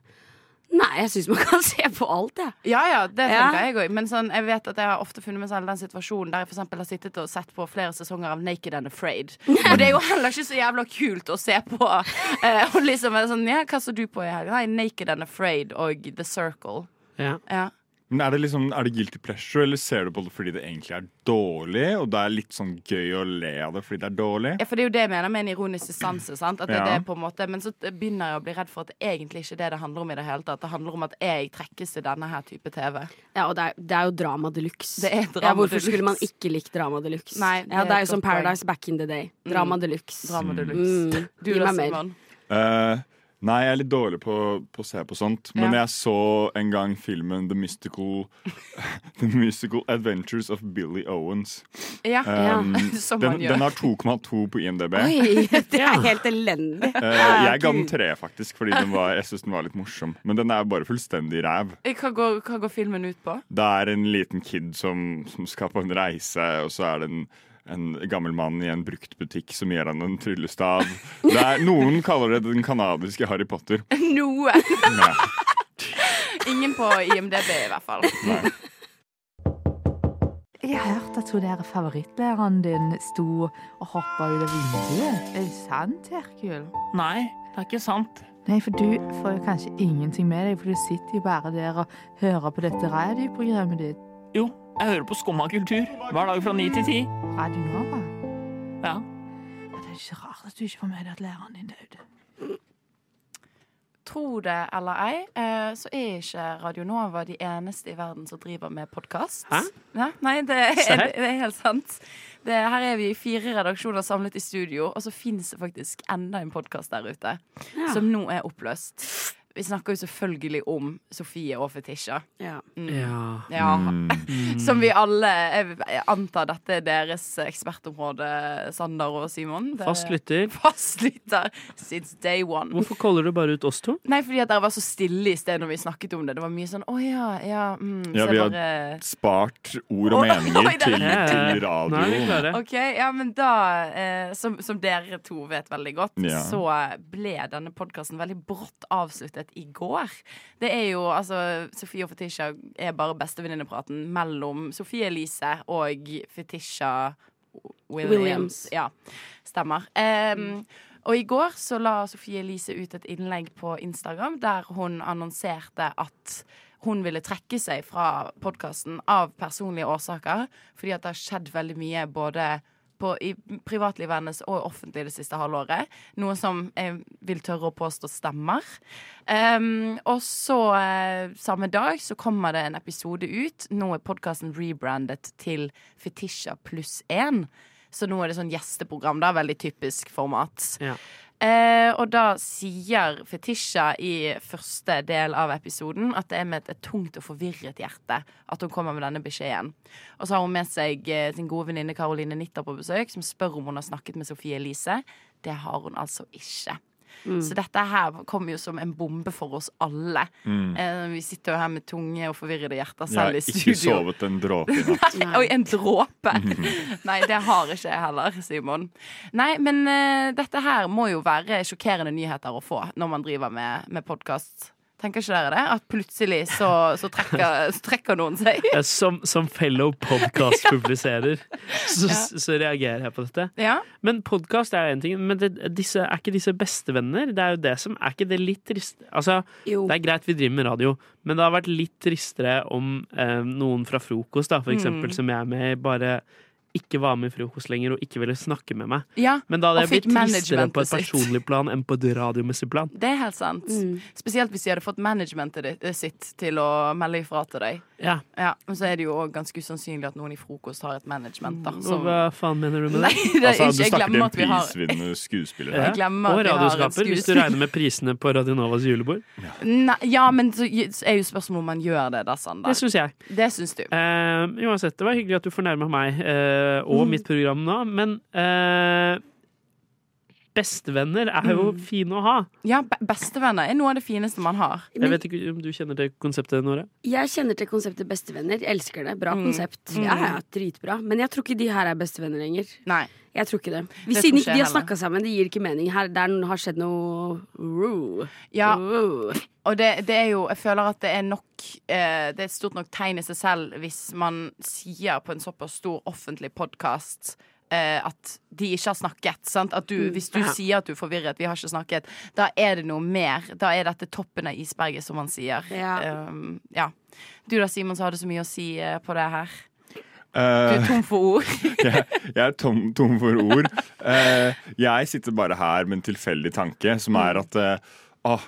Speaker 7: Nei, jeg syns man kan se på alt, jeg.
Speaker 3: Ja ja, det
Speaker 7: Ja.
Speaker 3: tenker jeg òg. Men sånn, jeg vet at jeg har ofte funnet meg selv i den situasjonen der jeg for eksempel har sittet og sett på flere sesonger av Naked and Afraid. Og det er jo heller ikke så jævla kult å se på. Eh, og liksom er det sånn Ja, hva så du på i helga? Nei, Naked and Afraid og The Circle.
Speaker 6: Ja.
Speaker 3: Ja.
Speaker 5: Men er det, liksom, er det guilty pleasure, eller ser du på det fordi det egentlig er dårlig? Og det er litt sånn gøy å le av det fordi det er dårlig?
Speaker 3: Ja, for det er jo det jeg mener med en ironisk distanse. sant? At det, er
Speaker 5: Ja.
Speaker 3: det på en måte, Men så begynner jeg å bli redd for at det egentlig ikke er det det handler om. i Det hele tatt. Det handler om at jeg trekkes til denne her type TV.
Speaker 7: Ja, og det er, det er jo drama de luxe.
Speaker 3: Det er drama
Speaker 7: ja, hvorfor
Speaker 3: deluxe.
Speaker 7: skulle man ikke likt drama de luxe?
Speaker 3: Nei, det
Speaker 7: ja, det
Speaker 3: er
Speaker 7: er
Speaker 3: et
Speaker 7: jo som
Speaker 3: godt poeng.
Speaker 7: Paradise back in the day. Mm. Drama de luxe.
Speaker 3: Drama de luxe.
Speaker 7: Mm.
Speaker 3: Du
Speaker 7: Gi
Speaker 3: da,
Speaker 7: meg mer.
Speaker 3: Simon?
Speaker 5: Eh, Nei, jeg er litt dårlig på, på å se på sånt. Men
Speaker 3: Ja.
Speaker 5: jeg så en gang filmen The Mystical, The Mystical Adventures of Billy Owens.
Speaker 3: Ja.
Speaker 5: Um,
Speaker 3: Som
Speaker 5: den,
Speaker 3: man gjør.
Speaker 5: den har 2,2 på IMDb.
Speaker 7: Oi, det er helt elendig.
Speaker 5: Eh, jeg ga den tre, faktisk, fordi den var, jeg syns den var litt morsom. Men den er bare fullstendig ræv.
Speaker 3: Hva går, hva går filmen ut på?
Speaker 5: Det er en liten kid som, som skal på en reise, og så er det en, en gammel mann i en bruktbutikk som gir han en tryllestav. Det er, noen kaller det den canadiske Harry Potter.
Speaker 3: Noe!
Speaker 5: Ja.
Speaker 3: Ingen på IMDb, i hvert fall.
Speaker 5: Nei.
Speaker 9: Jeg har hørt at hun der favorittlæreren din sto og hoppa ut av vinduet. Er det sant, Herkul?
Speaker 10: Nei, det er ikke sant.
Speaker 9: Nei, for du får jo kanskje ingenting med deg, for du sitter jo bare der og hører på dette radioprogrammet ditt.
Speaker 10: Jo, jeg hører på Skumma kultur hver dag fra ni til ti.
Speaker 9: Radio Nova.
Speaker 10: Ja.
Speaker 9: Ja, Det er ikke rart at du ikke får med deg at læreren din døde.
Speaker 3: Tro det eller ei, eh, så er ikke Radio Nova de eneste i verden som driver med podkast.
Speaker 6: Hæ?
Speaker 3: Nei, nei det, er,
Speaker 6: Se her.
Speaker 3: det er helt sant. Det, her er vi fire redaksjoner samlet i studio, og så fins det faktisk enda en podkast der ute. Som nå er oppløst. Vi snakker jo selvfølgelig om Sofie og fetisjer.
Speaker 7: Ja.
Speaker 6: Ja. Mm.
Speaker 3: Ja. Som vi alle Jeg antar dette er deres ekspertområde, Sander og Simon. Dere-
Speaker 6: Fast lytter.
Speaker 3: Fastlytter since day one.
Speaker 6: Hvorfor kaller du bare ut oss to?
Speaker 3: Nei, fordi at dere var så stille i sted når vi snakket om det. Det var mye sånn 'Å ja, ja mm,
Speaker 5: Ja,
Speaker 3: så
Speaker 5: vi
Speaker 3: jeg
Speaker 5: har-
Speaker 3: bare...
Speaker 5: Spart ord og
Speaker 3: Oi,
Speaker 5: meninger
Speaker 3: oi, det er
Speaker 5: til,
Speaker 6: Eh,
Speaker 5: til
Speaker 6: Nå er vi
Speaker 5: radioen.
Speaker 6: klare.
Speaker 3: OK, ja, men da, eh, som, som dere to vet veldig godt,
Speaker 5: Ja.
Speaker 3: så ble denne podkasten veldig brått avsluttet i går. Det er jo altså Sofie og Fetisha er bare bestevenninnepraten mellom Sofie Elise og Fetisha Williams.
Speaker 7: Williams.
Speaker 3: Ja, stemmer. Em, og i går så la Sofie Elise ut et innlegg på Instagram der hun annonserte at hun ville trekke seg fra podkasten av personlige årsaker, fordi at det har skjedd veldig mye både på, i privatlivet hennes og offentlig det siste halvåret. Noe som jeg vil tørre å påstå stemmer. Em, og så eh, samme dag så kommer det en episode ut. Nå er podkasten rebrandet til Fetisha pluss én. Så nå er det sånn gjesteprogram, da. Veldig typisk format.
Speaker 6: Ja.
Speaker 3: Eh, og da sier Fetisha i første del av episoden at det er med et tungt og forvirret hjerte at hun kommer med denne beskjeden. Og så har hun med seg eh, sin gode venninne Caroline Nitter på besøk, som spør om hun har snakket med Sofie Elise. Det har hun altså ikke. Så dette her kom jo som en bombe for oss alle. Eh, vi sitter jo her med tunge og forvirrede hjerter
Speaker 5: Jeg har
Speaker 3: selv i
Speaker 5: ikke
Speaker 3: studio.
Speaker 5: sovet en dråpe i natt.
Speaker 3: Nei. Oi, en dråpe! Nei, det har ikke jeg heller, Simon. Nei, men eh, dette her må jo være sjokkerende nyheter å få når man driver med, med podkast. Tenker ikke dere det? At plutselig så, så, trekker, så trekker noen seg.
Speaker 6: Eh, Som, som fellow podcast-publiserer, så, så reagerer jeg på dette.
Speaker 3: Ja.
Speaker 6: Men podkast er jo én ting, men det, disse, er ikke disse bestevenner? Det er jo det som Er ikke det litt trist? Altså,
Speaker 7: Jo.
Speaker 6: det er greit vi driver med radio, men det har vært litt tristere om eh, noen fra frokost,
Speaker 3: Mm.
Speaker 6: da, for eksempel, som jeg er med, i, bare ikke var med i frokost lenger og ikke ville snakke med meg.
Speaker 3: ja.
Speaker 6: Men da hadde
Speaker 3: Og
Speaker 6: jeg
Speaker 3: fikk
Speaker 6: blitt tristere på et
Speaker 3: managementet sitt.
Speaker 6: personlig plan enn på et radiomessig plan.
Speaker 3: Det er helt sant.
Speaker 6: Mm.
Speaker 3: Spesielt hvis de hadde fått managementet ditt- eh, sitt til å melde ifra til deg.
Speaker 6: Ja,
Speaker 3: Ja, Men så er det jo også ganske usannsynlig at noen i frokost har et management. Da,
Speaker 6: Mm. og
Speaker 3: som...
Speaker 6: Hva faen mener du med
Speaker 3: Nei, det
Speaker 6: det?
Speaker 3: er
Speaker 5: Altså, du
Speaker 3: ikke, jeg
Speaker 5: snakker til
Speaker 3: glemmer
Speaker 5: en
Speaker 3: at vi har
Speaker 5: prisvinnende skuespiller.
Speaker 6: Ja.
Speaker 5: her.
Speaker 3: Jeg glemmer
Speaker 6: Og
Speaker 3: at vi har en
Speaker 6: radioskaper, hvis du
Speaker 3: skuespiller.
Speaker 6: regner med prisene på Radionovas julebord.
Speaker 3: Nei, ja, men så så er jo spørsmålet om man gjør det, da, Sander.
Speaker 6: Det syns jeg.
Speaker 3: Det syns du.
Speaker 6: Eh, uansett, det var hyggelig at du fornærma meg eh, og
Speaker 7: Mm.
Speaker 6: mitt program nå, men eh, bestevenner er
Speaker 7: Mm.
Speaker 6: jo fine å ha.
Speaker 3: Ja, be- bestevenner er noe av det fineste man har.
Speaker 6: Jeg vet ikke om du kjenner til konseptet, Nora?
Speaker 7: Jeg kjenner til konseptet bestevenner. Jeg elsker det. Bra
Speaker 3: Mm.
Speaker 7: konsept. Ja, ja, dritbra. Men jeg tror ikke de her er bestevenner lenger.
Speaker 3: Nei.
Speaker 7: Jeg tror ikke det. Hvis
Speaker 3: Det tror ikke
Speaker 7: siden ikke
Speaker 3: jeg
Speaker 7: de har
Speaker 3: heller.
Speaker 7: snakka sammen, det gir ikke mening. Her, der har skjedd noe Roo.
Speaker 3: Ja,
Speaker 7: Roo.
Speaker 3: og det, det er jo Jeg føler at det er nok eh, Det er et stort nok tegn i seg selv hvis man sier på en såpass stor offentlig podkast eh, at de ikke har snakket. Sant? At du, hvis du sier at du er forvirret, vi har ikke snakket, da er det noe mer. Da er dette toppen av isberget, som man sier.
Speaker 7: Ja.
Speaker 3: Um, ja. Du da, Simon, som hadde så mye å si eh, på det her. Du
Speaker 5: Eh,
Speaker 3: er tom for ord.
Speaker 5: jeg, jeg er tom, tom for ord. Eh, jeg sitter bare her med en tilfeldig tanke, som er at eh, åh,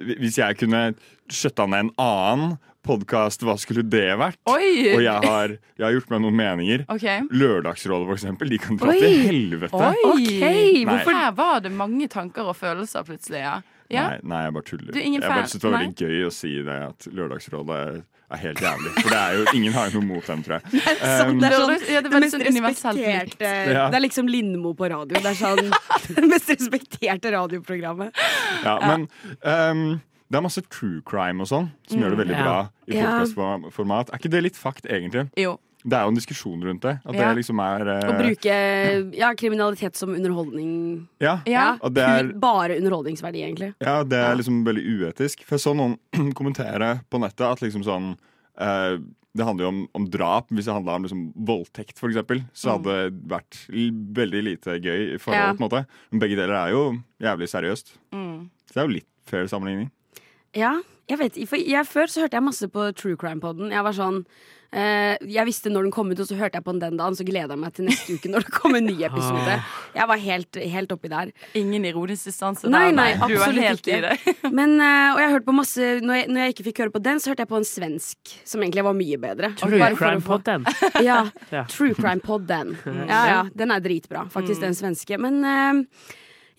Speaker 5: hvis jeg kunne skjøtta ned en annen podkast, hva skulle det vært?
Speaker 3: Oi!
Speaker 5: Og jeg har, jeg har gjort meg noen meninger.
Speaker 3: Ok.
Speaker 5: Lørdagsrådet, for eksempel, de kan dra
Speaker 7: Oi!
Speaker 5: til helvete.
Speaker 3: Oi!
Speaker 7: Ok,
Speaker 5: Nei.
Speaker 7: hvorfor
Speaker 3: Her var det mange tanker og følelser plutselig, ja. Ja.
Speaker 5: Nei, nei, jeg bare tuller.
Speaker 3: Du er ingen
Speaker 5: jeg bare
Speaker 3: fan-
Speaker 5: synes det var veldig gøy å si det at Lørdagsrådet er, er helt jævlig. For det er jo, ingen har jo noe mot dem, tror jeg. Um,
Speaker 7: det er sånn,
Speaker 3: lørdags- ja, det er
Speaker 7: det,
Speaker 3: veldig
Speaker 7: mest
Speaker 3: sånn universelt likt.
Speaker 7: respekterte
Speaker 5: Ja.
Speaker 7: Det er liksom Lindmo på radio. Det er sånn det mest respekterte radioprogrammet.
Speaker 5: ja, men um, det er masse true crime og sånn som gjør det veldig
Speaker 6: Ja.
Speaker 5: bra i
Speaker 7: Ja.
Speaker 5: podcastformat. Er ikke det litt fakt, egentlig?
Speaker 3: Jo.
Speaker 5: Det er jo en diskusjon rundt det. At
Speaker 3: Ja.
Speaker 5: det liksom er eh,
Speaker 7: Å bruke ja, kriminalitet som underholdning.
Speaker 5: ja,
Speaker 3: Ja.
Speaker 5: at det er
Speaker 7: Kun Bare underholdningsverdi, egentlig.
Speaker 5: Ja, det er liksom veldig uetisk. For jeg så noen kommentere på nettet at liksom sånn eh, Det handler jo om, om drap. Hvis det handla om liksom voldtekt, for eksempel, så hadde det vært l- veldig lite gøy i forhold.
Speaker 7: Ja.
Speaker 5: på en måte. Men begge deler er jo jævlig seriøst. Så det er jo litt fair sammenligning.
Speaker 7: Ja, jeg vet ikke, for jeg, Før så hørte jeg masse på True Crime-poden. Jeg var sånn eh, Jeg visste når den kom ut, og så hørte jeg på den den dagen. Så gleda jeg meg til neste uke når det kom en ny
Speaker 6: Ah.
Speaker 7: episode. Jeg var helt, helt oppi der.
Speaker 3: Ingen ironisk distanse.
Speaker 7: Nei,
Speaker 3: der,
Speaker 7: nei,
Speaker 3: Du er
Speaker 7: absolutt
Speaker 3: helt
Speaker 7: ikke.
Speaker 3: i det.
Speaker 7: Men, eh, og jeg har hørt på masse når jeg, når jeg ikke fikk høre på den, så hørte jeg på en svensk som egentlig var mye bedre.
Speaker 6: True
Speaker 7: Bare for å
Speaker 6: crime
Speaker 7: få-
Speaker 6: på den.
Speaker 7: Ja,
Speaker 6: Ja.
Speaker 7: True Crime Pod, den. Ja, ja, den er dritbra, faktisk, den svenske. Men eh,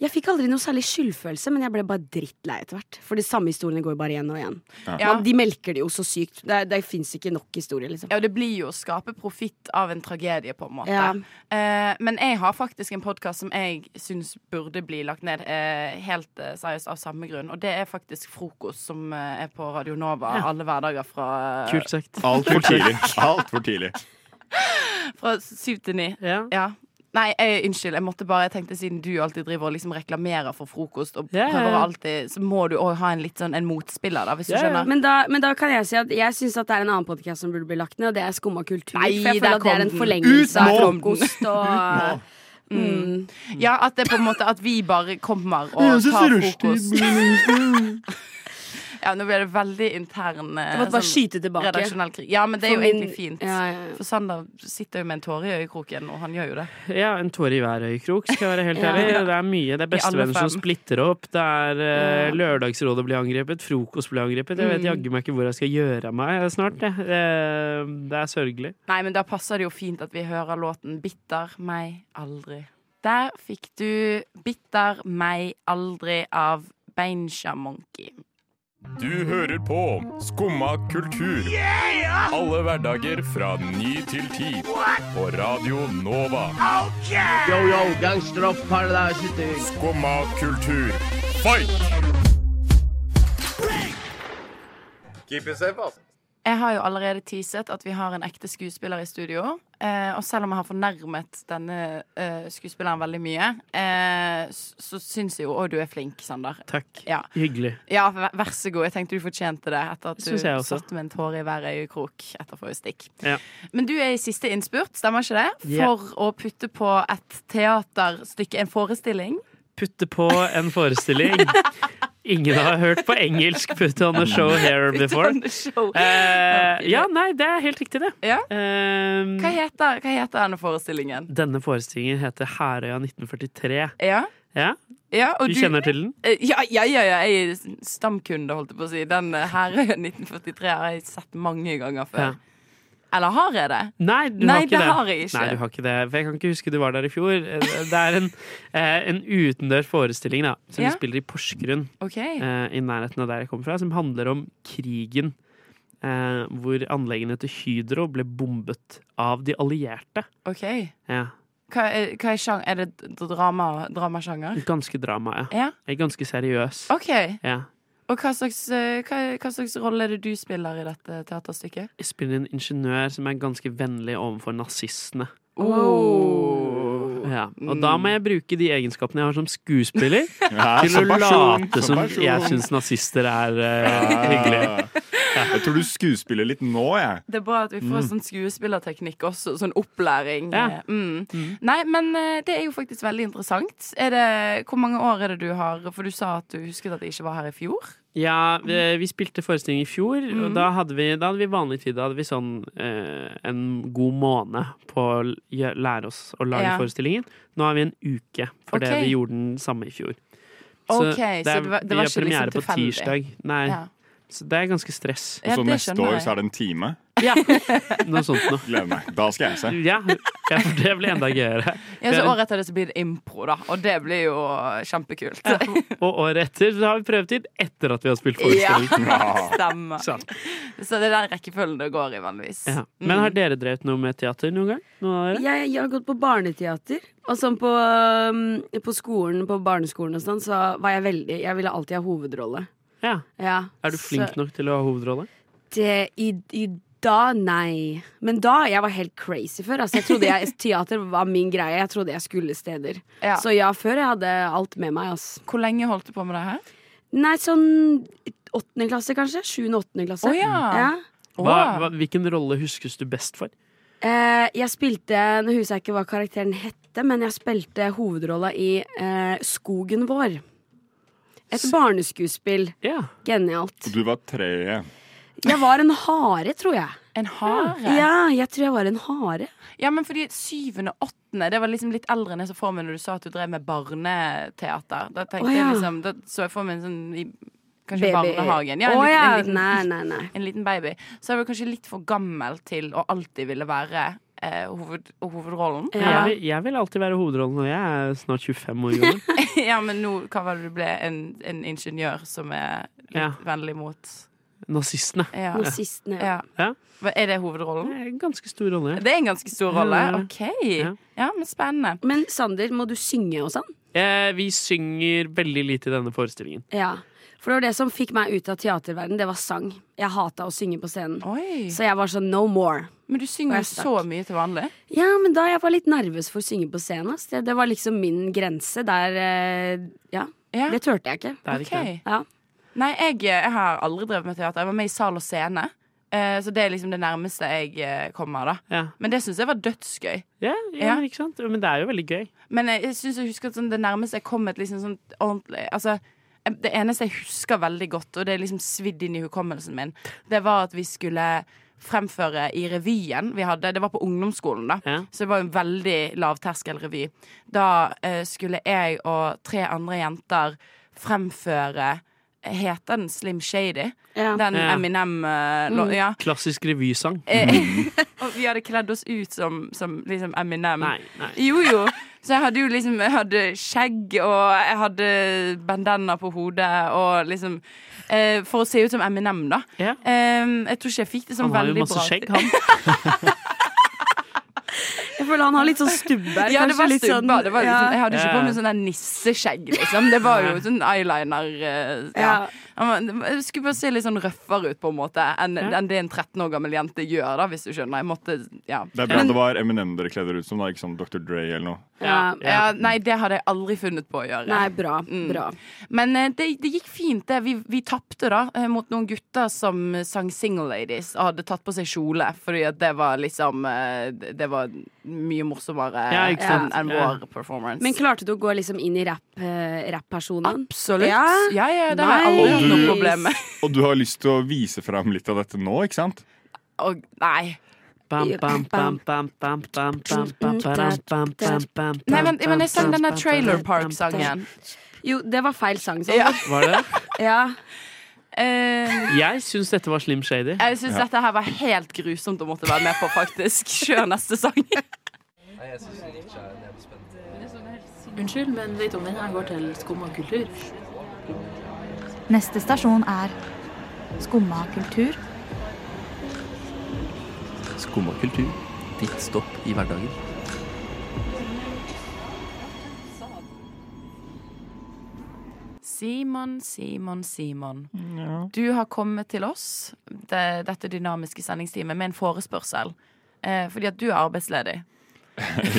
Speaker 7: jeg fikk aldri noe særlig skyldfølelse, men jeg ble bare drittlei etter hvert. For de samme historiene går bare igjen og igjen.
Speaker 3: Ja.
Speaker 7: Man, de melker det jo så sykt. Det, det fins ikke nok historier, liksom.
Speaker 3: Ja, det blir jo å skape profitt av en tragedie, på en måte.
Speaker 7: Ja.
Speaker 3: Eh, men jeg har faktisk en podkast som jeg syns burde bli lagt ned, eh, helt eh, seriøst, av samme grunn. Og det er faktisk Frokost, som eh, er på Radio Nova alle hverdager fra,
Speaker 6: Kult sagt.
Speaker 5: Altfor tidlig. Alt for tidlig.
Speaker 3: fra syv til ni.
Speaker 6: Ja.
Speaker 3: Ja. Nei, jeg, unnskyld. Jeg måtte bare, jeg tenkte siden du alltid driver og liksom reklamerer for frokost, og
Speaker 6: Ja, ja,
Speaker 3: prøver
Speaker 6: ja.
Speaker 3: alltid, så må du òg ha en litt sånn en motspiller, da, hvis du
Speaker 6: Ja, ja.
Speaker 3: skjønner.
Speaker 7: Men da, men da kan jeg si at jeg syns det er en annen podkast som burde bli lagt ned, og det er Skumma kultur.
Speaker 3: Nei,
Speaker 7: for
Speaker 3: der
Speaker 7: jeg føler at det er
Speaker 3: kom
Speaker 7: en
Speaker 3: den.
Speaker 5: Ut
Speaker 7: forlengelse av
Speaker 5: nå!
Speaker 7: frokost og mm.
Speaker 3: Ja, at det på en måte at vi bare kommer og
Speaker 5: Jeg synes
Speaker 3: tar
Speaker 5: rushtid
Speaker 3: frokost. ja, nå blir det veldig intern eh,
Speaker 7: Jeg måtte bare
Speaker 3: sånn
Speaker 7: skyte tilbake.
Speaker 3: redaksjonell krig. Ja, men det er
Speaker 7: For
Speaker 3: jo
Speaker 7: min-
Speaker 3: egentlig fint.
Speaker 7: Ja, ja, ja.
Speaker 3: For Sander sitter jo med en tåre i øyekroken, og han gjør jo det.
Speaker 6: Ja, en tåre i hver øyekrok, skal jeg være helt
Speaker 7: Ja.
Speaker 6: ærlig. Det er mye. Det er bestevenner
Speaker 3: fem.
Speaker 6: som splitter opp. Det er eh, Lørdagsrådet blir angrepet, frokost blir angrepet. Jeg
Speaker 7: Mm.
Speaker 6: vet jaggu meg ikke hvor jeg skal gjøre av meg snart. jeg. Eh, Det er sørgelig.
Speaker 3: Nei, men da passer det jo fint at vi hører låten 'Bitter meg aldri'. Der fikk du 'Bitter meg aldri' av Beinsha Monkey.
Speaker 11: Du hører på Skumma kultur. Alle hverdager fra ny til ti. På Radio Nova.
Speaker 4: Yo, yo, gangster of paradise city.
Speaker 11: Skumma kultur. Fight!
Speaker 3: Jeg har jo allerede teaset at vi har en ekte skuespiller i studio. Eh, og selv om jeg har fornærmet denne eh, skuespilleren veldig mye, eh, s- så syns jeg jo Å, du er flink, Sander.
Speaker 6: Takk.
Speaker 3: Ja.
Speaker 6: Hyggelig.
Speaker 3: ja, v- vær så god. Jeg tenkte du fortjente det etter at du
Speaker 6: Syns jeg også.
Speaker 3: satte med en tåre i hver øyekrok etter forrige stikk.
Speaker 6: Ja.
Speaker 3: Men du er i siste innspurt, stemmer ikke det?
Speaker 6: Ja.
Speaker 3: For å putte på et teaterstykke, en forestilling.
Speaker 6: Putte på en forestilling. Ingen har hørt på engelsk 'Put on a show here before'.
Speaker 3: Sånn show.
Speaker 6: Eh, ja, nei, det er helt riktig, det.
Speaker 3: Ja.
Speaker 6: Eh,
Speaker 3: Hva heter, hva heter denne forestillingen?
Speaker 6: denne forestillingen heter Herøya 1943.
Speaker 3: Ja,
Speaker 6: Ja,
Speaker 3: ja og
Speaker 6: du kjenner til den?
Speaker 3: Eh, Ja, ja, ja, ja, jeg er stamkunde, holdt jeg på å si. Den eh, her 1943 har jeg sett mange ganger før.
Speaker 6: Ja.
Speaker 3: Eller har jeg det?
Speaker 6: Nei, du
Speaker 3: Nei,
Speaker 6: har ikke
Speaker 3: det
Speaker 6: det.
Speaker 3: har jeg ikke.
Speaker 6: Nei, du har ikke det. For jeg kan ikke huske du var der i fjor. Det er en, eh, en utendørs forestilling da, som
Speaker 3: Ja.
Speaker 6: vi spiller i Porsgrunn,
Speaker 3: OK.
Speaker 6: eh, i nærheten av der jeg kommer fra, som handler om krigen. Eh, hvor anleggene til Hydro ble bombet av de allierte.
Speaker 3: ok
Speaker 6: Ja,
Speaker 3: Hva, er- hva er sjang... Er det d- drama, dramasjanger?
Speaker 6: ganske drama, ja.
Speaker 3: Ja.
Speaker 6: Eh, Ganske seriøs.
Speaker 3: OK.
Speaker 6: Ja.
Speaker 3: Og hva slags, eh, hva, hva slags rolle er det du spiller i dette teaterstykket?
Speaker 6: Jeg spiller en ingeniør som er ganske vennlig overfor nazistene.
Speaker 3: Oh.
Speaker 6: Ja. Og da må jeg bruke de egenskapene jeg har som skuespiller,
Speaker 5: Ja,
Speaker 6: til å
Speaker 5: som person,
Speaker 6: late som
Speaker 5: person.
Speaker 6: jeg syns nazister er eh,
Speaker 5: Ja.
Speaker 6: hyggelig.
Speaker 5: Jeg tror du skuespiller litt nå, jeg.
Speaker 3: Det er bra at vi får sånn skuespillerteknikk også, sånn opplæring.
Speaker 6: Mm. Ja.
Speaker 3: Mm. Nei, men eh, det er jo faktisk veldig interessant. Er det, hvor mange år er det du har? For du sa at du husket at jeg ikke var her i fjor.
Speaker 6: Ja, eh, vi, vi spilte forestilling i fjor,
Speaker 3: Mm.
Speaker 6: og da hadde, vi, da hadde vi vanlig tid. Da hadde vi sånn eh, en god måned på å l- gjø- lære oss å lage
Speaker 3: Ja.
Speaker 6: forestillingen. Nå har vi en uke, fordi
Speaker 3: Ok.
Speaker 6: vi gjorde den samme i fjor.
Speaker 3: Ok, så det var- det
Speaker 6: vi
Speaker 3: var ikke
Speaker 6: har
Speaker 3: liksom
Speaker 6: premiere på
Speaker 3: tilfeldig.
Speaker 6: tirsdag. Nei,
Speaker 3: Ja.
Speaker 6: så det er ganske stress.
Speaker 5: Og så neste år så er det en time.
Speaker 6: Ja. Noe sånt noe.
Speaker 5: Gleder meg. Da skal jeg se.
Speaker 6: Ja, ja, for det blir enda gøyere.
Speaker 3: Ja, så Året etter det så blir det impro, da. Og det blir jo kjempekult. Ja,
Speaker 6: Og året etter så har vi prøvetid etter at vi har spilt forestilling.
Speaker 3: stemmer.
Speaker 6: Sant.
Speaker 3: Så det er den rekkefølgen det går i, vanligvis.
Speaker 6: Ja. Men
Speaker 3: Mm.
Speaker 6: har dere drevet noe med teater noen gang? Noen av dere?
Speaker 7: Jeg, jeg har gått på barneteater. Og sånn på, um, på skolen, på barneskolen og sånn, så var jeg veldig Jeg ville alltid ha hovedrolle.
Speaker 6: Ja.
Speaker 7: Ja,
Speaker 6: Er du flink
Speaker 7: så-
Speaker 6: nok til å ha hovedrolle?
Speaker 7: Det, i, I da, nei. Men da, jeg var helt crazy før. Altså, jeg trodde jeg, Teater var min greie. Jeg trodde jeg skulle steder.
Speaker 3: Ja.
Speaker 7: Så ja, før jeg hadde alt med meg. ass.
Speaker 3: Hvor lenge holdt du på med det her?
Speaker 7: Nei, sånn åttende klasse, kanskje. Sjuende-åttende klasse.
Speaker 3: Å, ja.
Speaker 6: Hva, hva, hvilken rolle huskes du best for?
Speaker 7: Eh, jeg spilte Nå husker jeg ikke hva karakteren hette, men jeg spilte hovedrolla i eh, Skogen vår. Et barneskuespill. Genialt.
Speaker 5: Du var treet.
Speaker 7: Jeg var en hare, tror jeg.
Speaker 3: En hare?
Speaker 7: Ja, jeg tror jeg var en hare.
Speaker 3: Ja, men fordi syvende, åttende, det var liksom litt eldre enn jeg så for meg når du sa at du drev med barneteater. Da tenkte
Speaker 7: Å, ja.
Speaker 3: jeg liksom, da så jeg for meg en sånn i, Kanskje
Speaker 7: Baby.
Speaker 3: barnehagen. en
Speaker 7: Å,
Speaker 3: liten-
Speaker 7: ja.
Speaker 3: en liten-
Speaker 7: Nei, nei, nei.
Speaker 3: En liten baby. Så jeg var kanskje litt for gammel til å alltid ville være eh, hoved, hovedrollen.
Speaker 6: Jeg, vil, jeg vil alltid være hovedrollen når jeg er snart 25 år gammel.
Speaker 3: ja, men nå hva var det du ble? En, en ingeniør som er litt
Speaker 6: Ja.
Speaker 3: vennlig mot
Speaker 6: Nazistene.
Speaker 3: ja.
Speaker 7: ja.
Speaker 6: Ja.
Speaker 3: Hva- Er det hovedrollen?
Speaker 6: Ganske stor rolle.
Speaker 3: Det er en ganske stor rolle?
Speaker 6: Ja, ja, ja.
Speaker 7: Mm.
Speaker 3: OK. Ja, men spennende.
Speaker 7: Men Sander, må du synge og sånn?
Speaker 6: Eh, vi synger veldig lite i denne forestillingen.
Speaker 7: Ja. For det var det som fikk meg ut av teaterverden, det var sang. Jeg hata å synge på scenen. Så jeg var sånn no more.
Speaker 3: Men du synger jo
Speaker 7: Og jeg stakk.
Speaker 3: så mye til vanlig.
Speaker 7: Ja, men da jeg var litt nervøs for å synge på scenen. ass. Det, det var liksom min grense der eh, ja. Det turte jeg ikke.
Speaker 3: Det er ikke det. Ok.
Speaker 7: ja.
Speaker 3: Nei, jeg, eh, jeg har aldri drevet med teater. Jeg var med i Sal og Scene. Eh, Så det er liksom det nærmeste jeg eh, kommer. da
Speaker 6: Ja.
Speaker 3: Men det syns jeg var dødsgøy.
Speaker 6: Ja,
Speaker 3: Ja.
Speaker 6: ja, ikke sant? Men det er jo veldig gøy.
Speaker 3: Men jeg, jeg synes jeg husker at sånn, det nærmeste jeg kom et liksom sånn ordentlig Altså jeg- det eneste jeg husker veldig godt, og det er liksom svidd inn i hukommelsen min, det var at vi skulle fremføre i revyen vi hadde. Det var på ungdomsskolen, da. Så det var jo en veldig lavterskelrevy. Da eh, skulle jeg og tre andre jenter fremføre Heter den Slim Shady? Den
Speaker 6: Ja.
Speaker 3: Eminem eh, lå- Ja.
Speaker 6: Klassisk revysang.
Speaker 3: Eh, og vi hadde kledd oss ut som, som liksom Eminem.
Speaker 6: Nei, nei.
Speaker 3: Jo, jo. Så jeg hadde jo liksom Jeg hadde skjegg, og jeg hadde bandana på hodet, og liksom eh, For å se ut som Eminem, da. Eh, jeg tror ikke jeg fikk det sånn
Speaker 6: Han har jo
Speaker 3: veldig
Speaker 6: masse
Speaker 3: bra.
Speaker 6: skjegg, han.
Speaker 7: Jeg føler han har litt sånn stubber.
Speaker 3: Ja, det
Speaker 7: kanskje
Speaker 3: var
Speaker 7: litt sånn-
Speaker 3: stubba. Det var liksom,
Speaker 7: Ja.
Speaker 3: jeg hadde ikke på meg
Speaker 7: Ja.
Speaker 3: sånn der nisseskjegg, liksom. Det var jo sånn eyeliner eh, ja.
Speaker 7: Ja.
Speaker 3: Han var- Jeg skulle bare se litt sånn røffere ut, på en måte, enn
Speaker 5: Ja.
Speaker 3: enn det en 13 år gammel jente gjør, da, hvis du skjønner. Jeg måtte, ja.
Speaker 5: Det er bra det var Eminem dere kledde dere ut som, da, ikke som Dr. Dre eller noe.
Speaker 3: Ja, ja. Mm. Nei, det hadde jeg aldri funnet på å gjøre.
Speaker 7: Nei, bra, bra.
Speaker 3: Men eh, det, det gikk fint, det. Vi, vi tapte da eh, mot noen gutter som sang Single Ladies og hadde tatt på seg kjole, fordi at det var liksom eh, Det det var mye morsommere
Speaker 7: Ja, ikke
Speaker 3: enn
Speaker 7: sant.
Speaker 3: enn
Speaker 7: Ja.
Speaker 3: vår performance.
Speaker 7: Men klarte du å gå liksom inn i rapp, eh, rapp-personen?
Speaker 3: Absolutt. Ja, ja, det har jeg aldri hatt noe problem med.
Speaker 5: Og du har lyst til å vise fram litt av dette nå, ikke sant?
Speaker 3: Og nei.
Speaker 6: Bam, bam, bam, bam, bam, bam, bam, bam, bam, bam, bam, bam,
Speaker 3: Nei, men, men jeg sang
Speaker 6: bam,
Speaker 3: denne
Speaker 6: bam,
Speaker 3: Trailer
Speaker 6: bam,
Speaker 3: Park-sangen.
Speaker 7: Jo, det var feil sang. sånn.
Speaker 3: Ja.
Speaker 6: Var det det?
Speaker 3: ja. Eh,
Speaker 6: Jeg syns dette var Slim Shady.
Speaker 3: jeg syns dette her var helt grusomt å måtte være med på, faktisk. Kjør neste sang.
Speaker 12: Unnskyld, men vet du om denne går til skum og kultur?
Speaker 13: Neste stasjon er Skumma kultur.
Speaker 14: Skum og kultur. Ditt stopp i hverdagen.
Speaker 3: Simon, Simon, Simon.
Speaker 5: Ja.
Speaker 3: Du har kommet til oss, det, dette dynamiske sendingsteamet, med en forespørsel. Eh, fordi at du er arbeidsledig.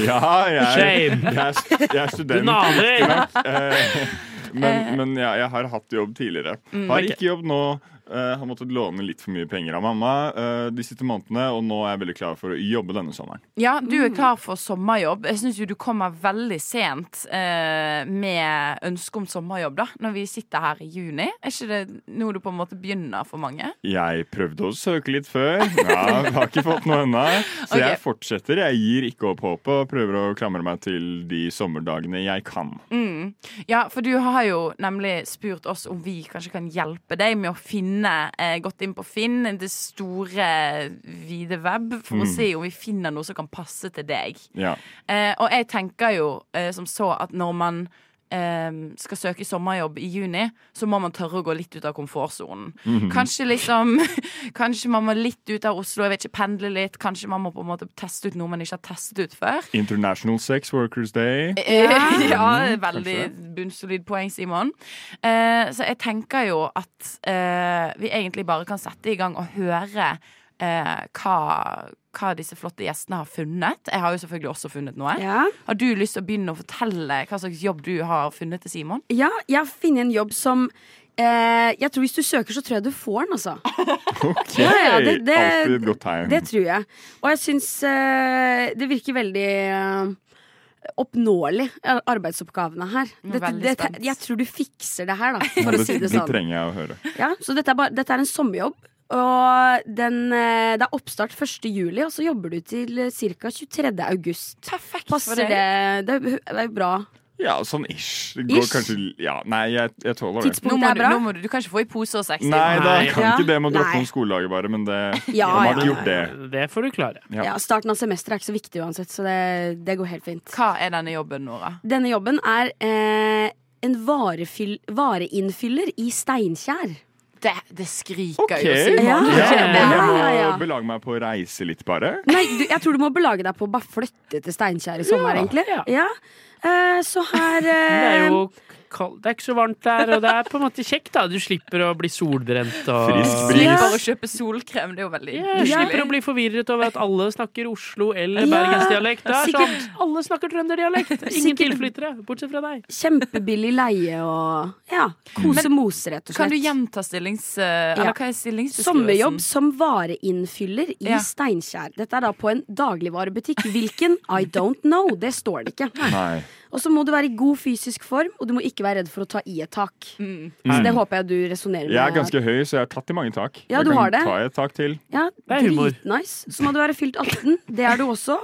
Speaker 5: Ja, jeg,
Speaker 6: Shame.
Speaker 5: jeg, er st- jeg er student.
Speaker 6: Du naler.
Speaker 5: ikke sant? Eh, Men, men jeg, jeg har hatt jobb tidligere.
Speaker 6: Mm,
Speaker 5: Har
Speaker 6: ok.
Speaker 5: ikke jobb nå. eh, har måttet låne litt for mye penger av mamma eh, de siste månedene, og nå er jeg veldig klar for å jobbe denne sommeren.
Speaker 3: Ja, du er klar for sommerjobb. Jeg syns jo du kommer veldig sent eh, med ønske om sommerjobb, da. Når vi sitter her i juni. Er ikke det nå du på en måte begynner for mange?
Speaker 5: Jeg prøvde å søke litt før. Ja, jeg har ikke fått noe ennå. Så jeg fortsetter. Jeg gir ikke opp håpet og prøver å klamre meg til de sommerdagene jeg kan.
Speaker 3: Mm. Ja, for du har jo nemlig spurt oss om vi kanskje kan hjelpe deg med å finne finne, eh, gått inn på Finn, det store, vide web, for å
Speaker 5: Mm.
Speaker 3: se om vi finner noe som kan passe til deg.
Speaker 5: Ja.
Speaker 3: Eh, og jeg tenker jo eh, som så at når man eh, skal søke sommerjobb i juni, så må man tørre å gå litt ut av komfortsonen.
Speaker 15: Mhm.
Speaker 3: Kanskje liksom Kanskje man må litt ut av Oslo, jeg vet ikke, pendle litt. Kanskje man må på en måte teste ut noe man ikke har testet ut før.
Speaker 5: International Sex Workers Day.
Speaker 7: Eh,
Speaker 3: Ja, ja
Speaker 5: Mm,
Speaker 3: veldig
Speaker 5: kanskje.
Speaker 3: bunnsolid poeng, Simon. Eh, så jeg tenker jo at eh, vi egentlig bare kan sette i gang og høre eh, hva, hva disse flotte gjestene har funnet. Jeg har jo selvfølgelig også funnet noe.
Speaker 7: Ja.
Speaker 3: Har du lyst til å begynne å fortelle hva slags jobb du har funnet til Simon?
Speaker 7: Ja, jeg har funnet en jobb som eh, Jeg tror hvis du søker, så tror jeg du får den, altså.
Speaker 5: Ok,
Speaker 7: Ja, ja, det- det-
Speaker 5: Alltid et godt tegn.
Speaker 7: Det tror jeg. Og jeg syns eh, det virker veldig eh, oppnåelig, eh, arbeidsoppgavene her.
Speaker 3: Jeg er veldig
Speaker 7: det,
Speaker 3: spent.
Speaker 7: jeg tror du fikser det her, da,
Speaker 5: Ja,
Speaker 7: for å si det sånn.
Speaker 5: trenger jeg å høre.
Speaker 7: Ja, så dette er, bare, dette er en sommerjobb. Og den, eh, det er oppstart 1. juli, og så jobber du til ca. 23. august.
Speaker 3: Perfekt
Speaker 7: Passer
Speaker 5: deg.
Speaker 7: det? Det er, det er bra.
Speaker 5: Ja, sånn ish. Det går
Speaker 7: Ish.
Speaker 5: kanskje Ja, nei, jeg, jeg tåler det.
Speaker 3: nå må du, nå må du, du kan ikke få i pose og seks.
Speaker 5: Nei, da
Speaker 6: Nei.
Speaker 5: kan ikke det. Må droppe
Speaker 7: Nei.
Speaker 5: om skoledaget, bare. Men det
Speaker 7: Ja,
Speaker 5: man har
Speaker 7: ja.
Speaker 5: ikke gjort det.
Speaker 6: Det får du klare.
Speaker 7: Ja. Starten av semesteret er ikke så viktig uansett, så det, det går helt fint.
Speaker 3: Hva er denne jobben, Nora?
Speaker 7: Denne jobben er eh, en varefyll, vareinnfyller i Steinkjer.
Speaker 3: Det, skriker
Speaker 5: Ok. Ja, Jeg
Speaker 7: Ja.
Speaker 5: må
Speaker 7: Ja, ja, ja.
Speaker 5: belage meg på å reise litt, bare.
Speaker 7: Nei, du, jeg tror du må belage deg på å bare flytte til Steinkjer i sommer,
Speaker 6: Ja,
Speaker 7: egentlig. Ja. Eh, så her eh,
Speaker 6: Det er jo kald- det er ikke så varmt der, og det er på en måte kjekt, da. Du slipper å bli solbrent og
Speaker 5: Frisk bris.
Speaker 3: Slipper å kjøpe solkrem, det er jo veldig
Speaker 6: Ja, Du slipper å bli forvirret over at alle snakker Oslo eller
Speaker 7: Ja.
Speaker 6: bergensdialekt. Det er sånn,
Speaker 7: Sikkert-
Speaker 6: alle snakker trønderdialekt. Ingen tilflyttere, bortsett fra deg.
Speaker 7: Kjempebillig leie og ja, kose mose, rett og slett.
Speaker 3: Kan du gjenta stillings... eh, Eller
Speaker 7: Ja.
Speaker 3: hva er stillingsbeskrivelsen?
Speaker 7: Sommerjobb som vareinnfyller i
Speaker 3: Ja.
Speaker 7: Steinkjer. Dette er da på en dagligvarebutikk. Hvilken? I don't know. Det står det ikke.
Speaker 5: Nei.
Speaker 7: Og så må du være i god fysisk form, og du må ikke være redd for å ta i et tak. Så
Speaker 5: Mm.
Speaker 7: det håper jeg du resonnerer med.
Speaker 5: Jeg er ganske høy, så jeg har tatt i mange tak.
Speaker 7: Ja,
Speaker 5: jeg
Speaker 7: du
Speaker 5: kan
Speaker 7: har det.
Speaker 5: ta i et tak til.
Speaker 7: ja,
Speaker 5: Det er humor.
Speaker 7: Dritnice. Så må du være fylt 18. Det er du også.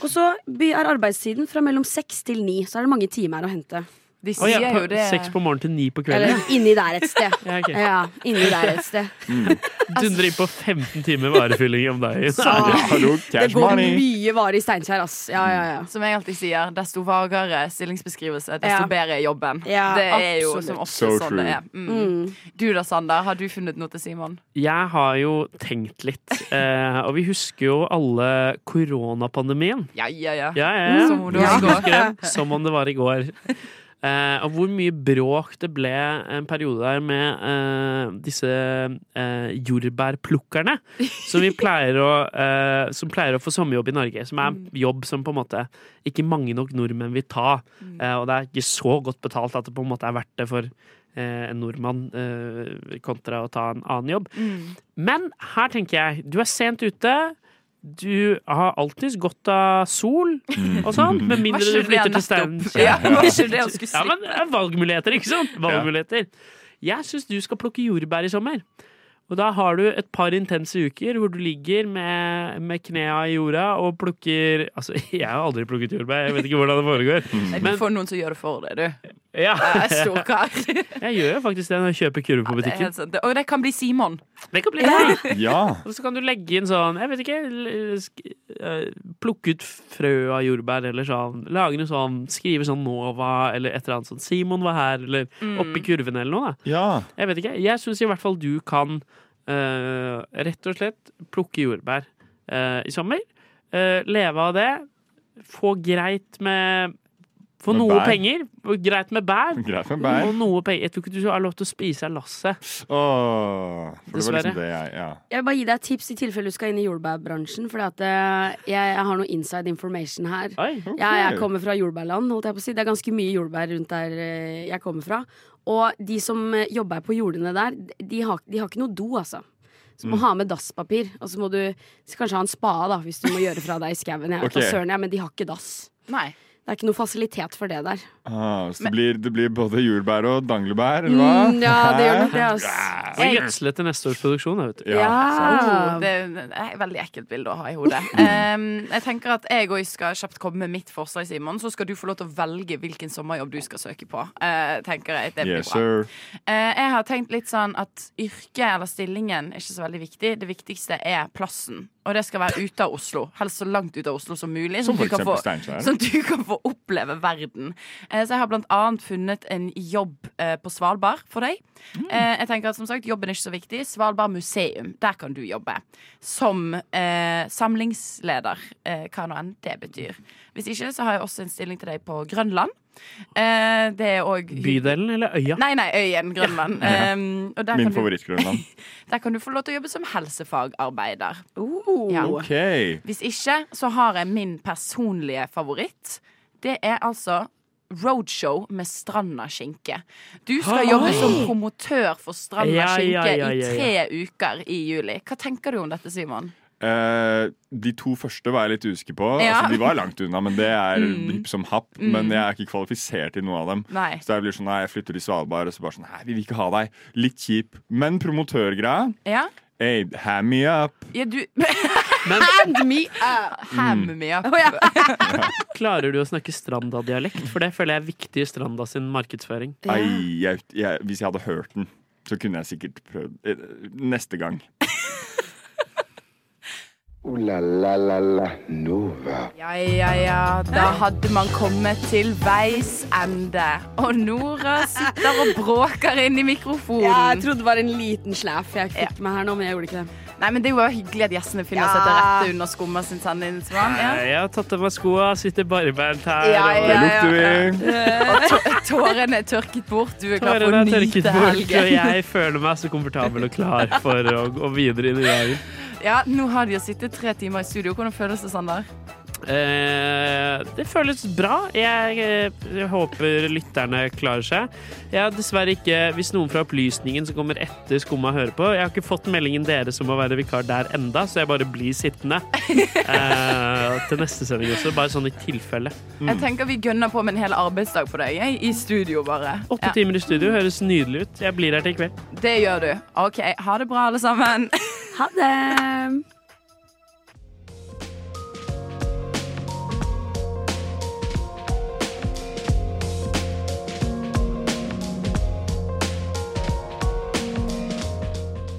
Speaker 7: Og så by- er arbeidstiden fra mellom seks til ni. Så er det mange timer å hente.
Speaker 3: De
Speaker 6: Å ja, på, Seks på morgenen til ni på
Speaker 7: Eller
Speaker 6: kvelden.
Speaker 7: inni der et sted.
Speaker 6: Ja, ok.
Speaker 7: ja, inni der et sted.
Speaker 6: Dundrer inn på 15 timer varefylling om dagen.
Speaker 7: Så- Ja, hallo, Det går mye varer i Steinkjer, ass. Ja, ja, ja.
Speaker 3: Som jeg alltid sier, desto vagere stillingsbeskrivelse, desto
Speaker 7: Ja.
Speaker 3: bedre er jobben.
Speaker 7: Ja,
Speaker 3: det er jo
Speaker 7: absolutt.
Speaker 3: som ofte
Speaker 6: So
Speaker 3: sånn
Speaker 6: true.
Speaker 3: det er. Mm. Du da, Sander, har du funnet noe til Simon?
Speaker 6: Jeg har jo tenkt litt, eh, og vi husker jo alle koronapandemien.
Speaker 3: Ja, ja, ja.
Speaker 6: Ja, ja, ja.
Speaker 3: Som om det
Speaker 6: Vi
Speaker 3: var i går.
Speaker 6: husker det Som om det var i går. Eh, og hvor mye bråk det ble en periode der med eh, disse eh, jordbærplukkerne, som, vi pleier å, eh, som pleier å få sommerjobb i Norge. Som
Speaker 3: Mm.
Speaker 6: er jobb som på en måte ikke mange nok nordmenn vil ta.
Speaker 3: Mm.
Speaker 6: Eh, og det er ikke så godt betalt at det på en måte er verdt det for eh, en nordmann eh, kontra å ta en annen jobb.
Speaker 3: Mm.
Speaker 6: Men her tenker jeg, du er sent ute. Du har alltids godt av sol og sånn, med
Speaker 3: Var
Speaker 6: mindre du
Speaker 3: ikke det
Speaker 6: flytter til
Speaker 3: nettopp?
Speaker 6: steinen.
Speaker 3: Ja, var ikke det han skulle
Speaker 6: Ja, men det er valgmuligheter, ikke sant? Valgmuligheter. Jeg syns du skal plukke jordbær i sommer. Og da har du et par intense uker hvor du ligger med, med knea i jorda og plukker Altså, jeg har aldri plukket jordbær, jeg vet ikke hvordan det foregår.
Speaker 3: Nei, Du
Speaker 6: Men
Speaker 3: får noen som gjør det for deg, du.
Speaker 6: ja.
Speaker 3: Jeg er stor kar.
Speaker 6: jeg gjør jo faktisk det når jeg kjøper kurv på
Speaker 3: Det er
Speaker 6: butikken.
Speaker 3: helt sant. Og det kan bli Simon.
Speaker 6: Det kan bli deg. Og så kan du legge inn sånn, jeg vet ikke l- sk- eh, Plukke ut frø av jordbær eller sånn. Lage noe sånn, skrive sånn Nova eller et eller annet sånn Simon var her, eller oppi kurven eller noe. da Jeg vet ikke. Jeg syns i hvert fall du kan eh, rett og slett plukke jordbær eh, i sommer. Eh, leve av det. Få greit med Få
Speaker 5: Med
Speaker 6: noe
Speaker 5: bær.
Speaker 6: penger. Greit med bær.
Speaker 5: Greit med bær.
Speaker 6: Og noe penger. Jeg tror ikke du har lov til å spise av lasset.
Speaker 5: Åh, for det var
Speaker 6: Dessverre.
Speaker 5: liksom det jeg ja.
Speaker 7: Jeg vil bare gi deg et tips i tilfelle du skal inn i jordbærbransjen. For at, eh, jeg, jeg har noe inside information her. jeg, jeg kommer fra jordbærland. Holdt jeg på å si. Det er ganske mye jordbær rundt der eh, jeg kommer fra. Og de som eh, jobber på jordene der, de har, de har ikke noe do, altså. Så
Speaker 16: Mm.
Speaker 7: må ha med dasspapir. Og så må du så kanskje ha en spade da, hvis du må gjøre fra deg i skauen. Jeg vet da
Speaker 16: Ok.
Speaker 7: søren, jeg, men de har ikke dass.
Speaker 3: Nei.
Speaker 7: Det er ikke noe fasilitet for det der.
Speaker 5: Ah, så det blir, det blir både jordbær og danglebær, eller hva?
Speaker 7: Mm, ja, det gjør nok det, ass.
Speaker 5: Ja.
Speaker 6: Og gjødsle til neste års produksjon, da, vet du.
Speaker 3: Ja, Oh, det er et veldig ekkelt bilde å ha i hodet.
Speaker 6: Mm.
Speaker 3: Ehm, jeg tenker at jeg òg skal kjapt komme med mitt forslag, Simon. Så skal du få lov til å velge hvilken sommerjobb du skal søke på. Eh, tenker jeg, Det blir
Speaker 5: Yes,
Speaker 3: bra.
Speaker 5: sir.
Speaker 3: Eh, jeg har tenkt litt sånn at yrket eller stillingen er ikke så veldig viktig. Det viktigste er plassen. Og det skal være ute av Oslo. Helst så langt ut av Oslo som mulig.
Speaker 5: Som
Speaker 3: sånn at
Speaker 5: for
Speaker 3: du kan
Speaker 5: eksempel
Speaker 3: få-
Speaker 5: Steinkjer.
Speaker 3: Sånn at du kan få oppleve verden. Eh, Så jeg har blant annet funnet en jobb eh, på Svalbard for deg.
Speaker 5: Mm.
Speaker 3: Eh, Jeg tenker at som sagt, Jobben er ikke så viktig. Svalbard museum, der kan du jobbe. Som eh, samlingsleder, eh, hva nå enn det betyr. Hvis ikke, så har jeg også en stilling til deg på Grønland. Eh, Det er òg
Speaker 6: Bydelen eller øya?
Speaker 3: Nei, nei, øyen Grønland.
Speaker 6: Ja.
Speaker 3: Um, og der
Speaker 5: Min
Speaker 3: kan du-
Speaker 5: favorittgrønland.
Speaker 3: Der kan du få lov til å jobbe som helsefagarbeider. Ja.
Speaker 5: OK.
Speaker 3: Hvis ikke, så har jeg min personlige favoritt. Det er altså Roadshow med Stranda skinke. Du skal
Speaker 6: Hei!
Speaker 3: jobbe som promotør for Stranda
Speaker 5: Ah, Ja, ja,
Speaker 3: skinke
Speaker 5: ja, ja, ja.
Speaker 3: i tre uker i juli. Hva tenker du om dette, Simon?
Speaker 5: Eh, de to første var jeg litt usikker på.
Speaker 3: Ja.
Speaker 5: Altså, de var langt unna, men det er
Speaker 3: Mm.
Speaker 5: hipp som happ.
Speaker 3: Mm.
Speaker 5: Men jeg er ikke kvalifisert til noe av dem.
Speaker 3: Nei.
Speaker 5: Så jeg blir sånn, nei, jeg flytter til Svalbard, og så bare sånn, nei, vi vil ikke ha deg. Litt kjip. Men promotørgreia,
Speaker 3: Ja?
Speaker 5: hey, hand me up.
Speaker 3: ja du
Speaker 7: Hand me up!
Speaker 6: Mm.
Speaker 3: Ham me up.
Speaker 6: Klarer du å snakke strandadialekt? For det føler jeg er viktig i Stranda sin markedsføring.
Speaker 5: Ei, jeg, jeg, hvis jeg hadde hørt den, så kunne jeg sikkert prøvd eh, neste gang.
Speaker 2: Ooh la la la la Nova.
Speaker 3: Ja, ja, ja. Da hadde man kommet til veis ende. Og Nora sitter og bråker inn i mikrofonen.
Speaker 7: Ja, jeg trodde det var en liten slæf jeg fikk med her nå, men jeg gjorde ikke det.
Speaker 3: Nei, men Det er jo bare hyggelig at gjestene finner
Speaker 7: Ja.
Speaker 3: seg til rette under skumma sin sanningsmann. Ja.
Speaker 6: Nei, Jeg har tatt av meg skoa, sitter barbeint her.
Speaker 3: Ja,
Speaker 6: og-
Speaker 3: ja, ja, Og tå- tårene er tørket bort. Du er klar for
Speaker 6: Tårene
Speaker 3: å
Speaker 6: er tørket
Speaker 3: nyte
Speaker 6: bort, og jeg
Speaker 3: helgen.
Speaker 6: føler meg så komfortabel og klar for å gå videre inn i dagen.
Speaker 3: Ja, Nå har de jo sittet tre timer i studio. Hvordan føles det, Sander?
Speaker 6: Eh, det føles bra. Jeg, eh, jeg håper lytterne klarer seg. Jeg har dessverre ikke, hvis noen fra opplysningen som kommer etter Skumma hører på, jeg har ikke fått meldingen dere som må være vikar der enda, så jeg bare blir sittende eh, til neste sending også, bare sånn i tilfelle.
Speaker 3: Jeg tenker Vi gønner på med en hel arbeidsdag på deg. Jeg, I studio, bare.
Speaker 6: Åtte timer i studio høres nydelig ut. Jeg blir her til i kveld.
Speaker 3: Det gjør du. OK. Ha det bra, alle sammen.
Speaker 7: Ha det.